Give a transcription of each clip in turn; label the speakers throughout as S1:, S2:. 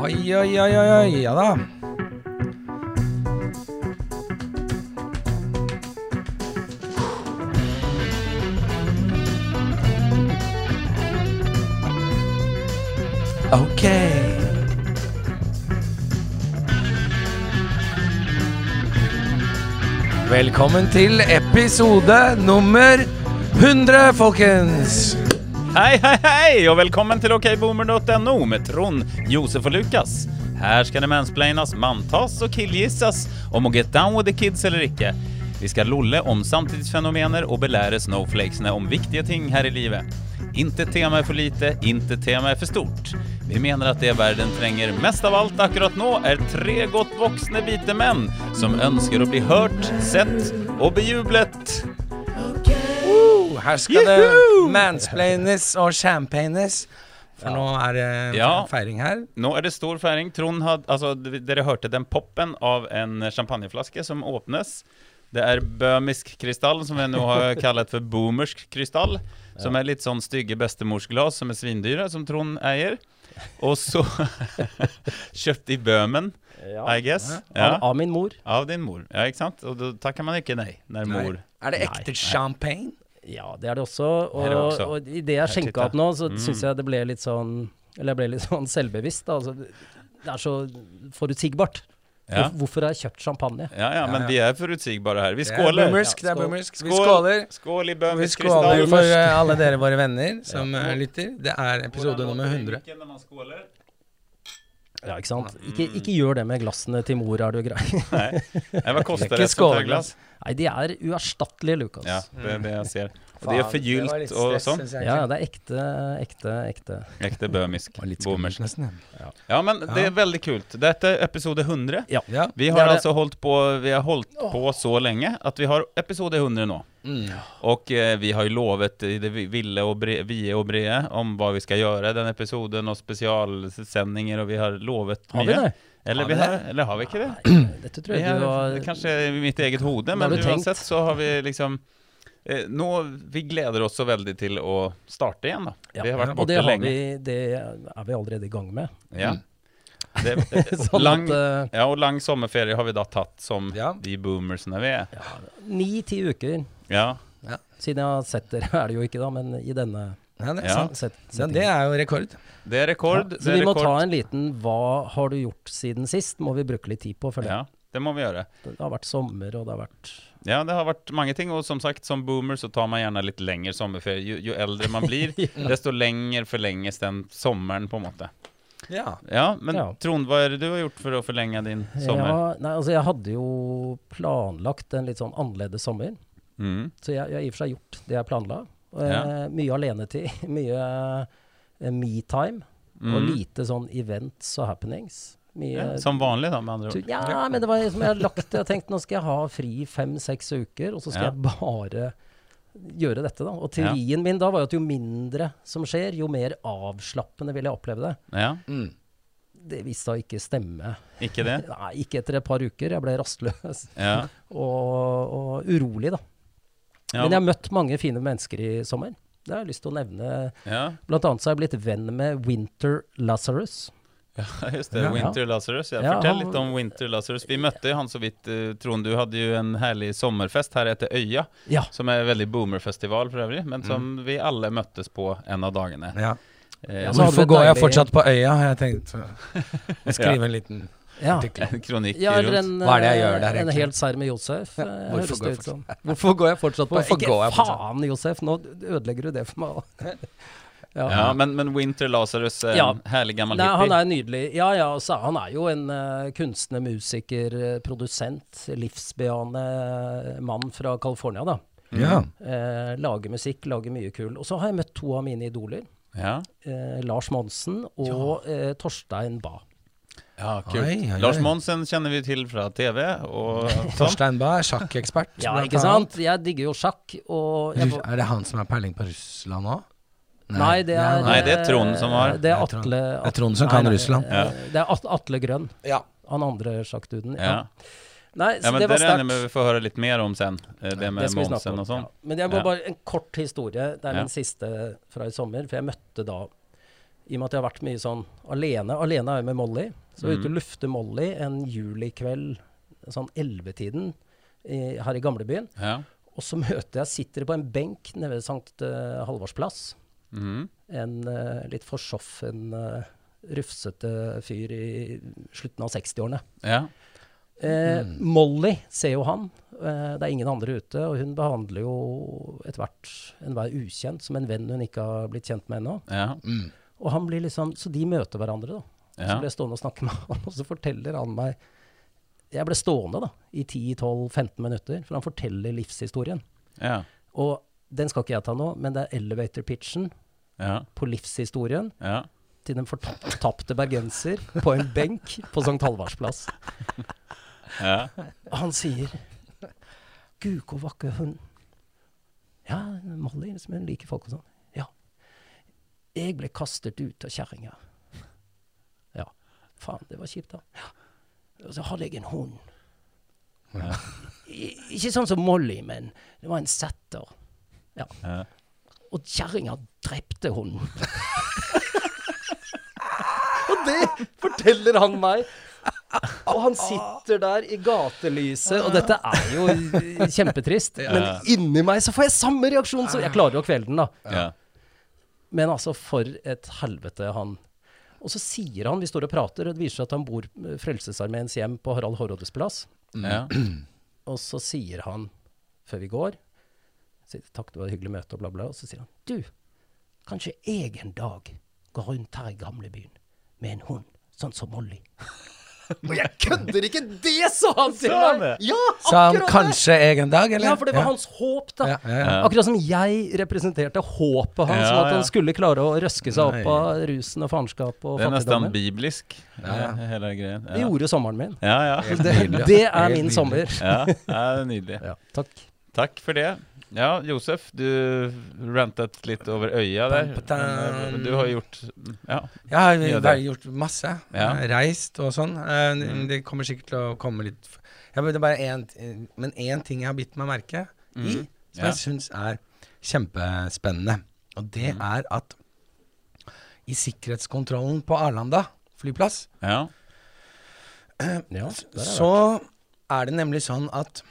S1: Oi, oi, oi, oi, oi, ja da. Ok. Velkommen til episode nummer 100, folkens.
S2: Hei, hei, hei, og velkommen til okboomer.no med Trond, Josef og Lukas. Her skal det mansplainas, manntas og killgisses om å get down with the kids eller ikke. Vi skal lolle om samtidsfenomener og belære snowflakesene om viktige ting her i livet. Inte tema er for lite, inte tema er for stort. Vi mener at det verden trenger mest av alt akkurat nå, er tre godt voksne hvite menn som ønsker å bli hørt, sett og bejublet.
S1: Oh, Her skal
S2: Juhu!
S1: det mansplaines og champagnes. For nå er det eh,
S2: Ja.
S1: feiring her.
S2: Nå er det stor feiring. Trond had, altså, d- Dere hørte den poppen av en champagneflaske som åpnes. Det er bømisk krystall, som vi nå har kalt for boomersk krystall. Som er litt sånn stygge bestemorsglass som er svindyre, som Trond eier. Og så kjøpt i Bøhmen,
S3: Ja.
S2: I guess.
S3: Av,
S2: Ja,
S3: av min mor.
S2: av din mor. Ja, ikke sant? Og da takker man ikke nei når mor
S1: Nei. Er det ekte champagne?
S3: Ja, det er det også. Og,
S2: Det er det også. Mm.
S3: og i det jeg skjenka
S2: titta.
S3: opp nå, så synes syns jeg det ble litt sånn Eller jeg ble litt sånn selvbevisst. da. Altså, det er så forutsigbart.
S2: Ja.
S3: Hvor- Hvorfor har jeg kjøpt champagne?
S2: Ja, ja, men
S1: ja.
S2: vi er forutsigbare her. Vi
S1: Det er
S2: skåler.
S1: boomersk, det er
S3: skål.
S1: boomersk. Vi skåler.
S2: Skål
S1: Vi
S2: i bømisk
S1: skåler
S2: krystall.
S1: for eh, alle dere våre venner som eh, lytter. Det er episode
S2: Hvordan
S1: nummer 100.
S2: låter drinken når man skåler?
S3: Ja, ikke sant?
S2: Mm.
S3: Ikke, ikke gjør det med glassene til mor, er du grei.
S2: Nei. Nei, hva koster
S1: Ikke
S2: et sånt her
S1: skåleglass.
S2: glass?
S3: Nei, de er uerstattelige, Lukas.
S2: Ja, det er det jeg ser. Og de er forgylt og sånn.
S3: Ja, det er ekte, ekte, ekte.
S2: Ekte bømisk. Bommers.
S1: nesten.
S2: Ja, men det er veldig kult. Dette er episode 100.
S3: Ja.
S1: Ja.
S2: Vi
S3: Det
S2: har
S3: er det.
S2: altså holdt på, vi har holdt på så lenge at vi har episode 100 nå.
S3: Mm.
S2: Og eh, vi har jo lovet i det vi- ville og bre, vide og brede om hva vi skal gjøre i den episoden, og spesialsendinger, og vi har lovet mye.
S3: Har vi det?
S2: Eller,
S1: Har
S2: vi
S1: vi
S2: har, eller har vi ikke det?
S3: Dette tror
S2: Det
S3: jeg
S2: er
S3: du var
S2: kanskje i mitt eget hode,
S3: har
S2: men
S3: du tenkt?
S2: uansett så har vi liksom eh, Nå Vi gleder oss så veldig til å starte igjen, da.
S3: Ja,
S2: vi har vært
S3: Og det,
S2: borte
S3: har
S2: lenge.
S3: vi, det er vi allerede i gang med.
S2: Ja. Det,
S3: Sånn at,
S2: lang,
S3: eh,
S2: ja, og lang sommerferie har vi da tatt som
S1: Ja.
S2: de boomersene vi er.
S3: Ni-ti uker
S2: Ja.
S3: siden jeg har sett dere, er det jo ikke da, men i denne
S1: Ja, det er
S2: Ja.
S1: sant.
S3: set,
S1: Ja,
S3: settingen.
S1: det er jo rekord.
S2: Det er rekord.
S3: Så
S2: det er
S3: vi må
S2: rekord.
S3: ta en liten 'hva har du gjort siden sist?' må vi bruke litt tid på. For det.
S2: Ja, det må vi gjøre.
S3: det har vært sommer, og det har vært
S2: Ja, det har vært mange ting, og som sagt, som boomer så tar man gjerne litt lengre sommerferie. Jo, jo eldre man blir, desto lenger forlenges den sommeren, på en måte.
S1: Ja.
S2: Ja, men
S3: Ja.
S2: Trond, hva er det du har gjort for å forlenge din sommer?
S3: Ja, nei, altså Jeg hadde jo planlagt en litt sånn annerledes sommer.
S2: Mm.
S3: Så jeg jeg har i og for seg gjort det jeg planla.
S2: Ja.
S3: Eh, mye alenetid, mye eh, me-time, og lite sånn events og happenings. Mye
S2: Mm. Ja, som vanlig, da, med andre
S3: Tu-
S2: ord.
S3: Ja, men det var som jeg hadde lagt Jeg tenkte nå skal jeg ha fri fem-seks uker, og så skal
S2: Ja.
S3: jeg bare gjøre dette, da. Og teorien min da var jo at jo mindre som skjer, jo mer avslappende vil jeg oppleve det.
S2: Ja,
S3: Mm. Det viste seg å ikke stemme.
S2: ikke det?
S3: Nei, ikke etter et par uker. Jeg ble rastløs
S2: Ja.
S3: og, og urolig, da.
S2: Ja,
S3: Men jeg har møtt mange fine mennesker i sommer. Det har jeg lyst til å nevne.
S2: ja.
S3: Blant annet så har jeg blitt venn med Winter Lazarus.
S2: ja just det.
S1: Ja.
S2: Winter Lazarus. Ja,
S3: Ja,
S2: fortell
S3: han-
S2: litt om Winter Lazarus. Vi møtte jo han så vidt, eh, Trond. Du hadde jo en herlig sommerfest her etter Øya,
S3: Ja.
S2: som er en veldig boomerfestival for øvrig, men som vi alle møttes på en av dagene.
S1: ja.
S2: Eh,
S3: Mm. Ja, så hadde vi
S1: Hvorfor
S3: et
S1: går jeg
S3: deilig-
S1: fortsatt på øya, har jeg tenkt. Å skrive en liten
S3: ja.
S1: artikkel.
S2: en kronikk
S3: Ja, eller
S2: rundt.
S3: en,
S1: Hva er det jeg gjør der,
S3: eh, en
S1: egentlig?
S3: hel serr med Josef. eh,
S1: hvorfor går
S3: høres
S1: jeg
S3: det ut
S1: fortsatt-
S3: som. Hvorfor går jeg fortsatt på
S1: Hvorfor
S3: Ikke
S1: går jeg fortsatt?
S3: faen, Josef! Nå ødelegger du det for meg.
S2: Ja, men, men Winter Lazarus, eh, en
S3: Ja.
S2: herlig gammel
S3: Nei, han
S2: hippie.
S3: er nydelig. Ja, ja, altså, han er jo en eh, kunstner, musiker, eh, produsent. Livsbejaende eh, mann fra California, da.
S2: Mm.
S1: Ja.
S3: Eh, lager musikk, lager mye kul. Og så har jeg møtt to av mine idoler.
S2: Ja.
S3: eh, Lars Monsen og eh, Torstein Bae.
S2: ja, kult.
S1: Oi, oi, oi.
S2: Lars Monsen kjenner vi til fra TV og sånt.
S1: Torstein Bae, sjakkekspert.
S3: Ja,
S1: blant
S3: ikke
S1: annet.
S3: sant? Jeg digger jo sjakk, og jeg,
S1: Rus- Er det han som har peiling på Russland nå?
S3: Nei, det er, eh,
S2: Nei, det er Trond som har.
S3: Det er
S1: Det er Trond.
S3: Atle
S1: Det er Trond som kan Russland.
S3: eh, Det er At- Atle Grønn,
S1: Ja.
S3: han andre sjakkduden. Ja.
S2: Ja.
S3: Nei, så
S2: ja, men
S3: det
S2: det
S3: var
S2: regner
S3: sterkt.
S2: jeg med vi får høre litt mer om sen. eh, Det med
S3: Det skal vi snakke
S2: Monsen
S3: om.
S2: og sånn.
S3: Ja. Men jeg må
S2: Ja.
S3: bare en kort historie. Det
S2: Ja.
S3: er min siste fra i sommer, for jeg møtte da i og med at jeg har vært mye sånn alene. Alene er jeg med Molly. Så jeg var
S2: Mm.
S3: ute og lufte Molly en julikveld, sånn 11-tiden, i- her i gamlebyen.
S2: Ja.
S3: Og så møter jeg, sitter på en benk nede ved Sankt eh, Halvards plass,
S2: Mhm.
S3: en eh, litt forsoffen, eh, rufsete fyr i slutten av 60-årene.
S2: ja.
S3: Eh, Molly ser jo han. Eh, det er ingen andre ute, og hun behandler jo etter hvert enhver ukjent som en venn hun ikke har blitt kjent med ennå.
S2: Ja.
S1: Mm.
S3: Og han blir liksom, Så de møter hverandre, da. Så
S2: Ja.
S3: blir jeg stående og snakke med han, og så forteller han meg Jeg ble stående da, i 10-12-15 minutter, for han forteller livshistorien.
S2: Ja.
S3: Og den skal ikke jeg ta nå, men det er elevator pitchen
S2: Ja.
S3: på livshistorien
S2: Ja.
S3: til den fortapte bergenser på en benk på St. Halvards plass.
S2: Ja.
S3: Og han sier Gud, hvor vakker hun Ja, Molly, liksom, hun liker folk og sånn. Ja. Jeg ble kastet ut av kjerringa. Ja. Faen, det var kjipt, da. Ja. Og så hadde jeg en hund.
S2: Ja.
S3: I, ikke sånn som Molly, men det var en setter. Ja.
S2: Ja.
S3: Og kjerringa drepte hunden. og det forteller han meg. Og han sitter der i gatelyset, og dette er jo kjempetrist. Men inni meg så får jeg samme reaksjon, så jeg klarer jo kvelden, da.
S2: Ja.
S3: Men altså, for et helvete han Og så sier han, vi står og prater, og det viser seg at han bor eh, Frelsesarmeens hjem på Harald Hårrådes plass.
S2: Ja.
S3: Mm. Og så sier han, før vi går sier, Takk, det var et hyggelig møte, og bla, bla. Og så sier han Du, kanskje jeg en dag går rundt her i gamlebyen med en hund, sånn som Molly.
S4: Og jeg kødder ikke!
S3: Det sa han til
S2: Sa han
S3: meg!
S4: Ja!
S1: Sa han
S3: Akkurat det!
S1: kanskje jeg en dag, eller?
S3: Ja, for det var hans håp, da.
S1: Ja, ja, ja.
S3: Akkurat som jeg representerte håpet hans
S2: Ja,
S3: om at
S2: ja.
S3: han skulle klare å røske seg
S1: Nei.
S3: opp av rusen og faenskap og
S2: Det er nesten
S3: fattigdommen.
S2: biblisk, he- hele greien.
S3: Det
S2: Ja.
S3: gjorde sommeren min.
S2: Ja, ja.
S1: Helt nydelig.
S3: Det er
S1: Helt
S3: min
S1: nydelig.
S3: sommer.
S2: ja. ja det er nydelig.
S3: Takk.
S2: Takk for det. Ja, Josef, du rantet litt over øya der.
S1: Pam-pa-tam.
S2: Men eh, Du har gjort Ja.
S1: Ja, jeg
S2: Ja,
S1: har
S2: det-
S1: bare gjort masse.
S2: Ja. Mm.
S1: Eh, Reist og sånn. Eh, Det kommer sikkert til å komme litt f- jeg, vet, det er bare en, Men én ting jeg har bitt meg merke i, som
S2: Mm. Ja.
S1: jeg syns er kjempespennende, og det
S2: Mm.
S1: er at i sikkerhetskontrollen på Arlanda flyplass,
S2: Ja.
S3: Ja, der er det.
S1: så er det nemlig sånn at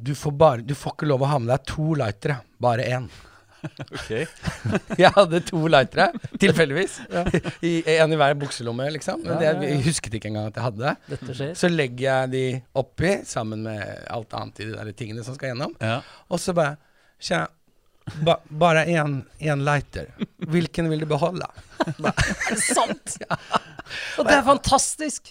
S1: du får, bare, du får ikke lov å ha med deg to lightere, bare én.
S2: Ok.
S1: Jeg hadde to lightere, tilfeldigvis. I, en i hver bukselomme, liksom. Men
S3: Ja,
S1: det,
S3: ja, ja.
S1: jeg husket ikke engang at jeg hadde det.
S3: Dette skjer.
S1: Så legger jeg de oppi, sammen med alt annet i de der tingene som skal gjennom.
S2: Ja.
S1: Og så bare Tja, ba, bare én lighter. Hvilken vil du beholde?
S3: Sant! Og det er fantastisk!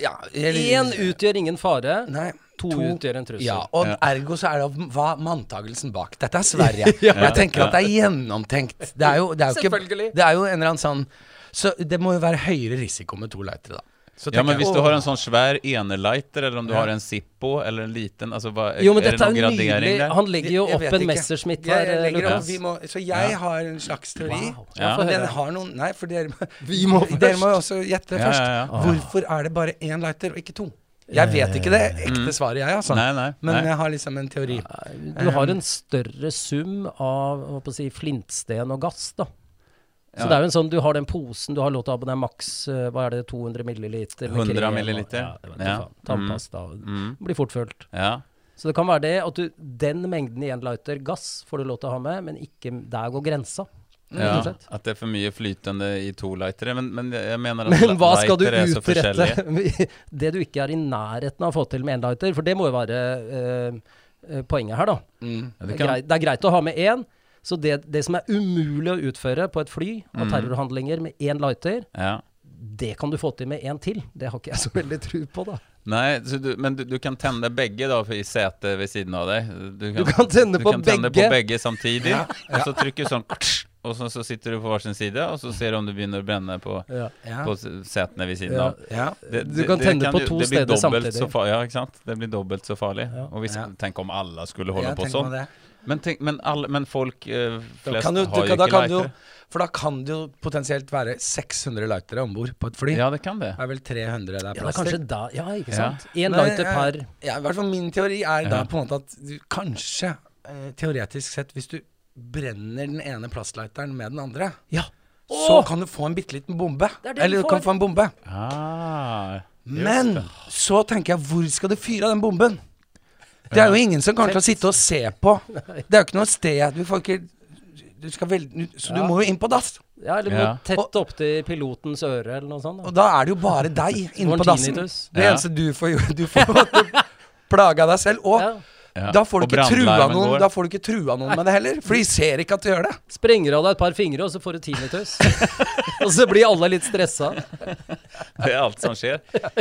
S1: Ja,
S3: Én utgjør ingen fare,
S1: Nei.
S3: to, utgjør en trussel.
S1: Ja, og
S2: Ja.
S1: ergo så er det hva manntagelsen bak. Dette er Sverige. Jeg tenker at det er gjennomtenkt. Det er jo, det er jo ikke
S3: Selvfølgelig.
S1: Det er jo en eller annen sånn Så det må jo være høyere risiko med to lightere, da. Så
S2: ja, men
S1: tenker jeg,
S2: hvis du
S1: «Åh,
S2: har en sånn svær enelighter, eller om du
S1: Ja.
S2: har en Zippo, eller en liten altså, hva,
S3: Jo, men
S2: Er det
S3: dette
S2: noen
S3: er jo
S2: gradering
S3: nydelig.
S2: der?
S3: Han legger jo
S1: jeg
S3: opp
S1: vet
S3: en
S1: ikke.
S3: Messerschmitt
S1: Jeg-
S3: her,
S1: jeg legger opp-
S3: Lukas.
S1: vi må, Så jeg har en slags teori.
S3: Wow.
S2: Ja.
S1: Men
S3: Få
S1: Den
S3: høre.
S1: har noen Nei, for dere
S4: Vi må først.
S1: Dere må jo også gjette
S2: Ja,
S1: først.
S2: ja, ja.
S1: Hvorfor er det bare én lighter og ikke to? Jeg vet ikke det ekte svaret, jeg, altså.
S2: Eh, mm. Nei, nei,
S1: Men
S2: nei.
S1: jeg har liksom en teori.
S3: Du
S2: Ehm.
S3: har en større sum av hva på å si, flintsten og gass, da. Så
S2: Ja.
S3: det er jo en sånn, Du har den posen du har lov til å ha på deg maks eh, hva er det, 200 milliliter? med
S2: 100
S3: krem og-
S2: milliliter.
S3: Ja, jeg vet ikke
S2: Ja. Mm.
S3: faen. Tannpasta. Blir fort fullt.
S2: Ja.
S3: Så det kan være det at du, den mengden i en lighter gass får du lov til å ha med, men ikke der går grensa. rett og
S2: Ja,
S3: slett.
S2: at det er for mye flytende i to lightere. Men, men jeg mener at
S3: Men hva skal du
S2: lightere er så forskjellige.
S3: utrette? Det du ikke er i nærheten av å få til med én lighter, for det må jo være eh, eh, poenget her, da.
S1: Mm.
S2: Ja,
S3: Det,
S2: det
S3: er
S2: kan-
S3: greit, det er greit å ha med én. Så det, det som er umulig å utføre på et fly av terrorhandlinger med én lighter,
S2: Ja.
S3: det kan du få til med én til. Det har ikke jeg så veldig tro på, da.
S2: Nei, så du, men du, du kan tenne begge da i setet ved siden av deg. Du kan,
S3: Du kan tenne
S2: du
S3: på
S2: kan tenne
S3: begge.
S2: på begge samtidig. Og så trykker du sånn, og så, så sitter du på hver sin side, og så ser du om det begynner å brenne på,
S1: Ja.
S2: på setene ved siden
S3: Ja.
S2: av.
S1: Ja.
S2: Det,
S3: Du kan tenne på
S2: jo-
S3: to
S2: det blir
S3: steder
S2: dobbelt
S3: samtidig.
S2: Så fa- ja, ikke sant? Det blir dobbelt så farlig. Og hvis,
S1: Ja.
S2: Tenk om alle skulle holde
S1: Jeg
S2: på
S1: tenker
S2: sånn.
S1: meg det.
S2: Men, tenk, men, alle- men folk eh,
S1: Da
S2: flest
S1: kan du,
S2: har
S1: du,
S2: jo
S1: kan- da
S2: ikke
S1: kan du,
S2: lightere.
S1: for da kan det jo potensielt være 600 lightere om bord på et fly.
S2: Ja, det kan det.
S1: Det er vel 300 det er
S3: Ja, det er
S1: plass
S3: kanskje
S1: til.
S3: da Ja, ikke
S2: Ja.
S3: sant? Én
S1: Men,
S3: lighter
S1: eh,
S3: per
S1: Ja, I hvert fall min teori er da
S2: Ja.
S1: på en måte at du kanskje, eh, teoretisk sett, hvis du brenner den ene plastlighteren med den andre,
S3: Ja.
S1: så kan du få en bitte liten bombe.
S3: Det er det du
S1: Eller du kan
S3: får.
S1: få en bombe.
S2: Ah, just
S1: Men
S2: det.
S1: så tenker jeg, hvor skal du fyre av den bomben? Det er jo ingen som kommer til å sitte og se på. Det er jo ikke noe sted du får ikke du skal vel, Så du
S3: Ja.
S1: må jo inn på dass.
S3: Ja, eller
S2: Ja.
S3: mot tett opptil pilotens øre, eller noe sånt.
S1: Og
S3: Da.
S1: da er det jo bare deg inne på
S3: Vår
S1: dassen.
S3: tinnitus.
S1: Det
S2: Ja.
S1: eneste du får gjøre, du får plage av deg selv. Og
S3: Ja.
S2: Ja,
S1: da får du
S2: og
S1: ikke trua
S2: brandalarmen
S1: noen
S2: går.
S1: Da får du ikke trua noen med det heller, for de ser ikke at du gjør det.
S3: Sprenger av deg et par fingre, og så får du tinnitus. og så blir alle litt stressa.
S2: Det er alt som skjer.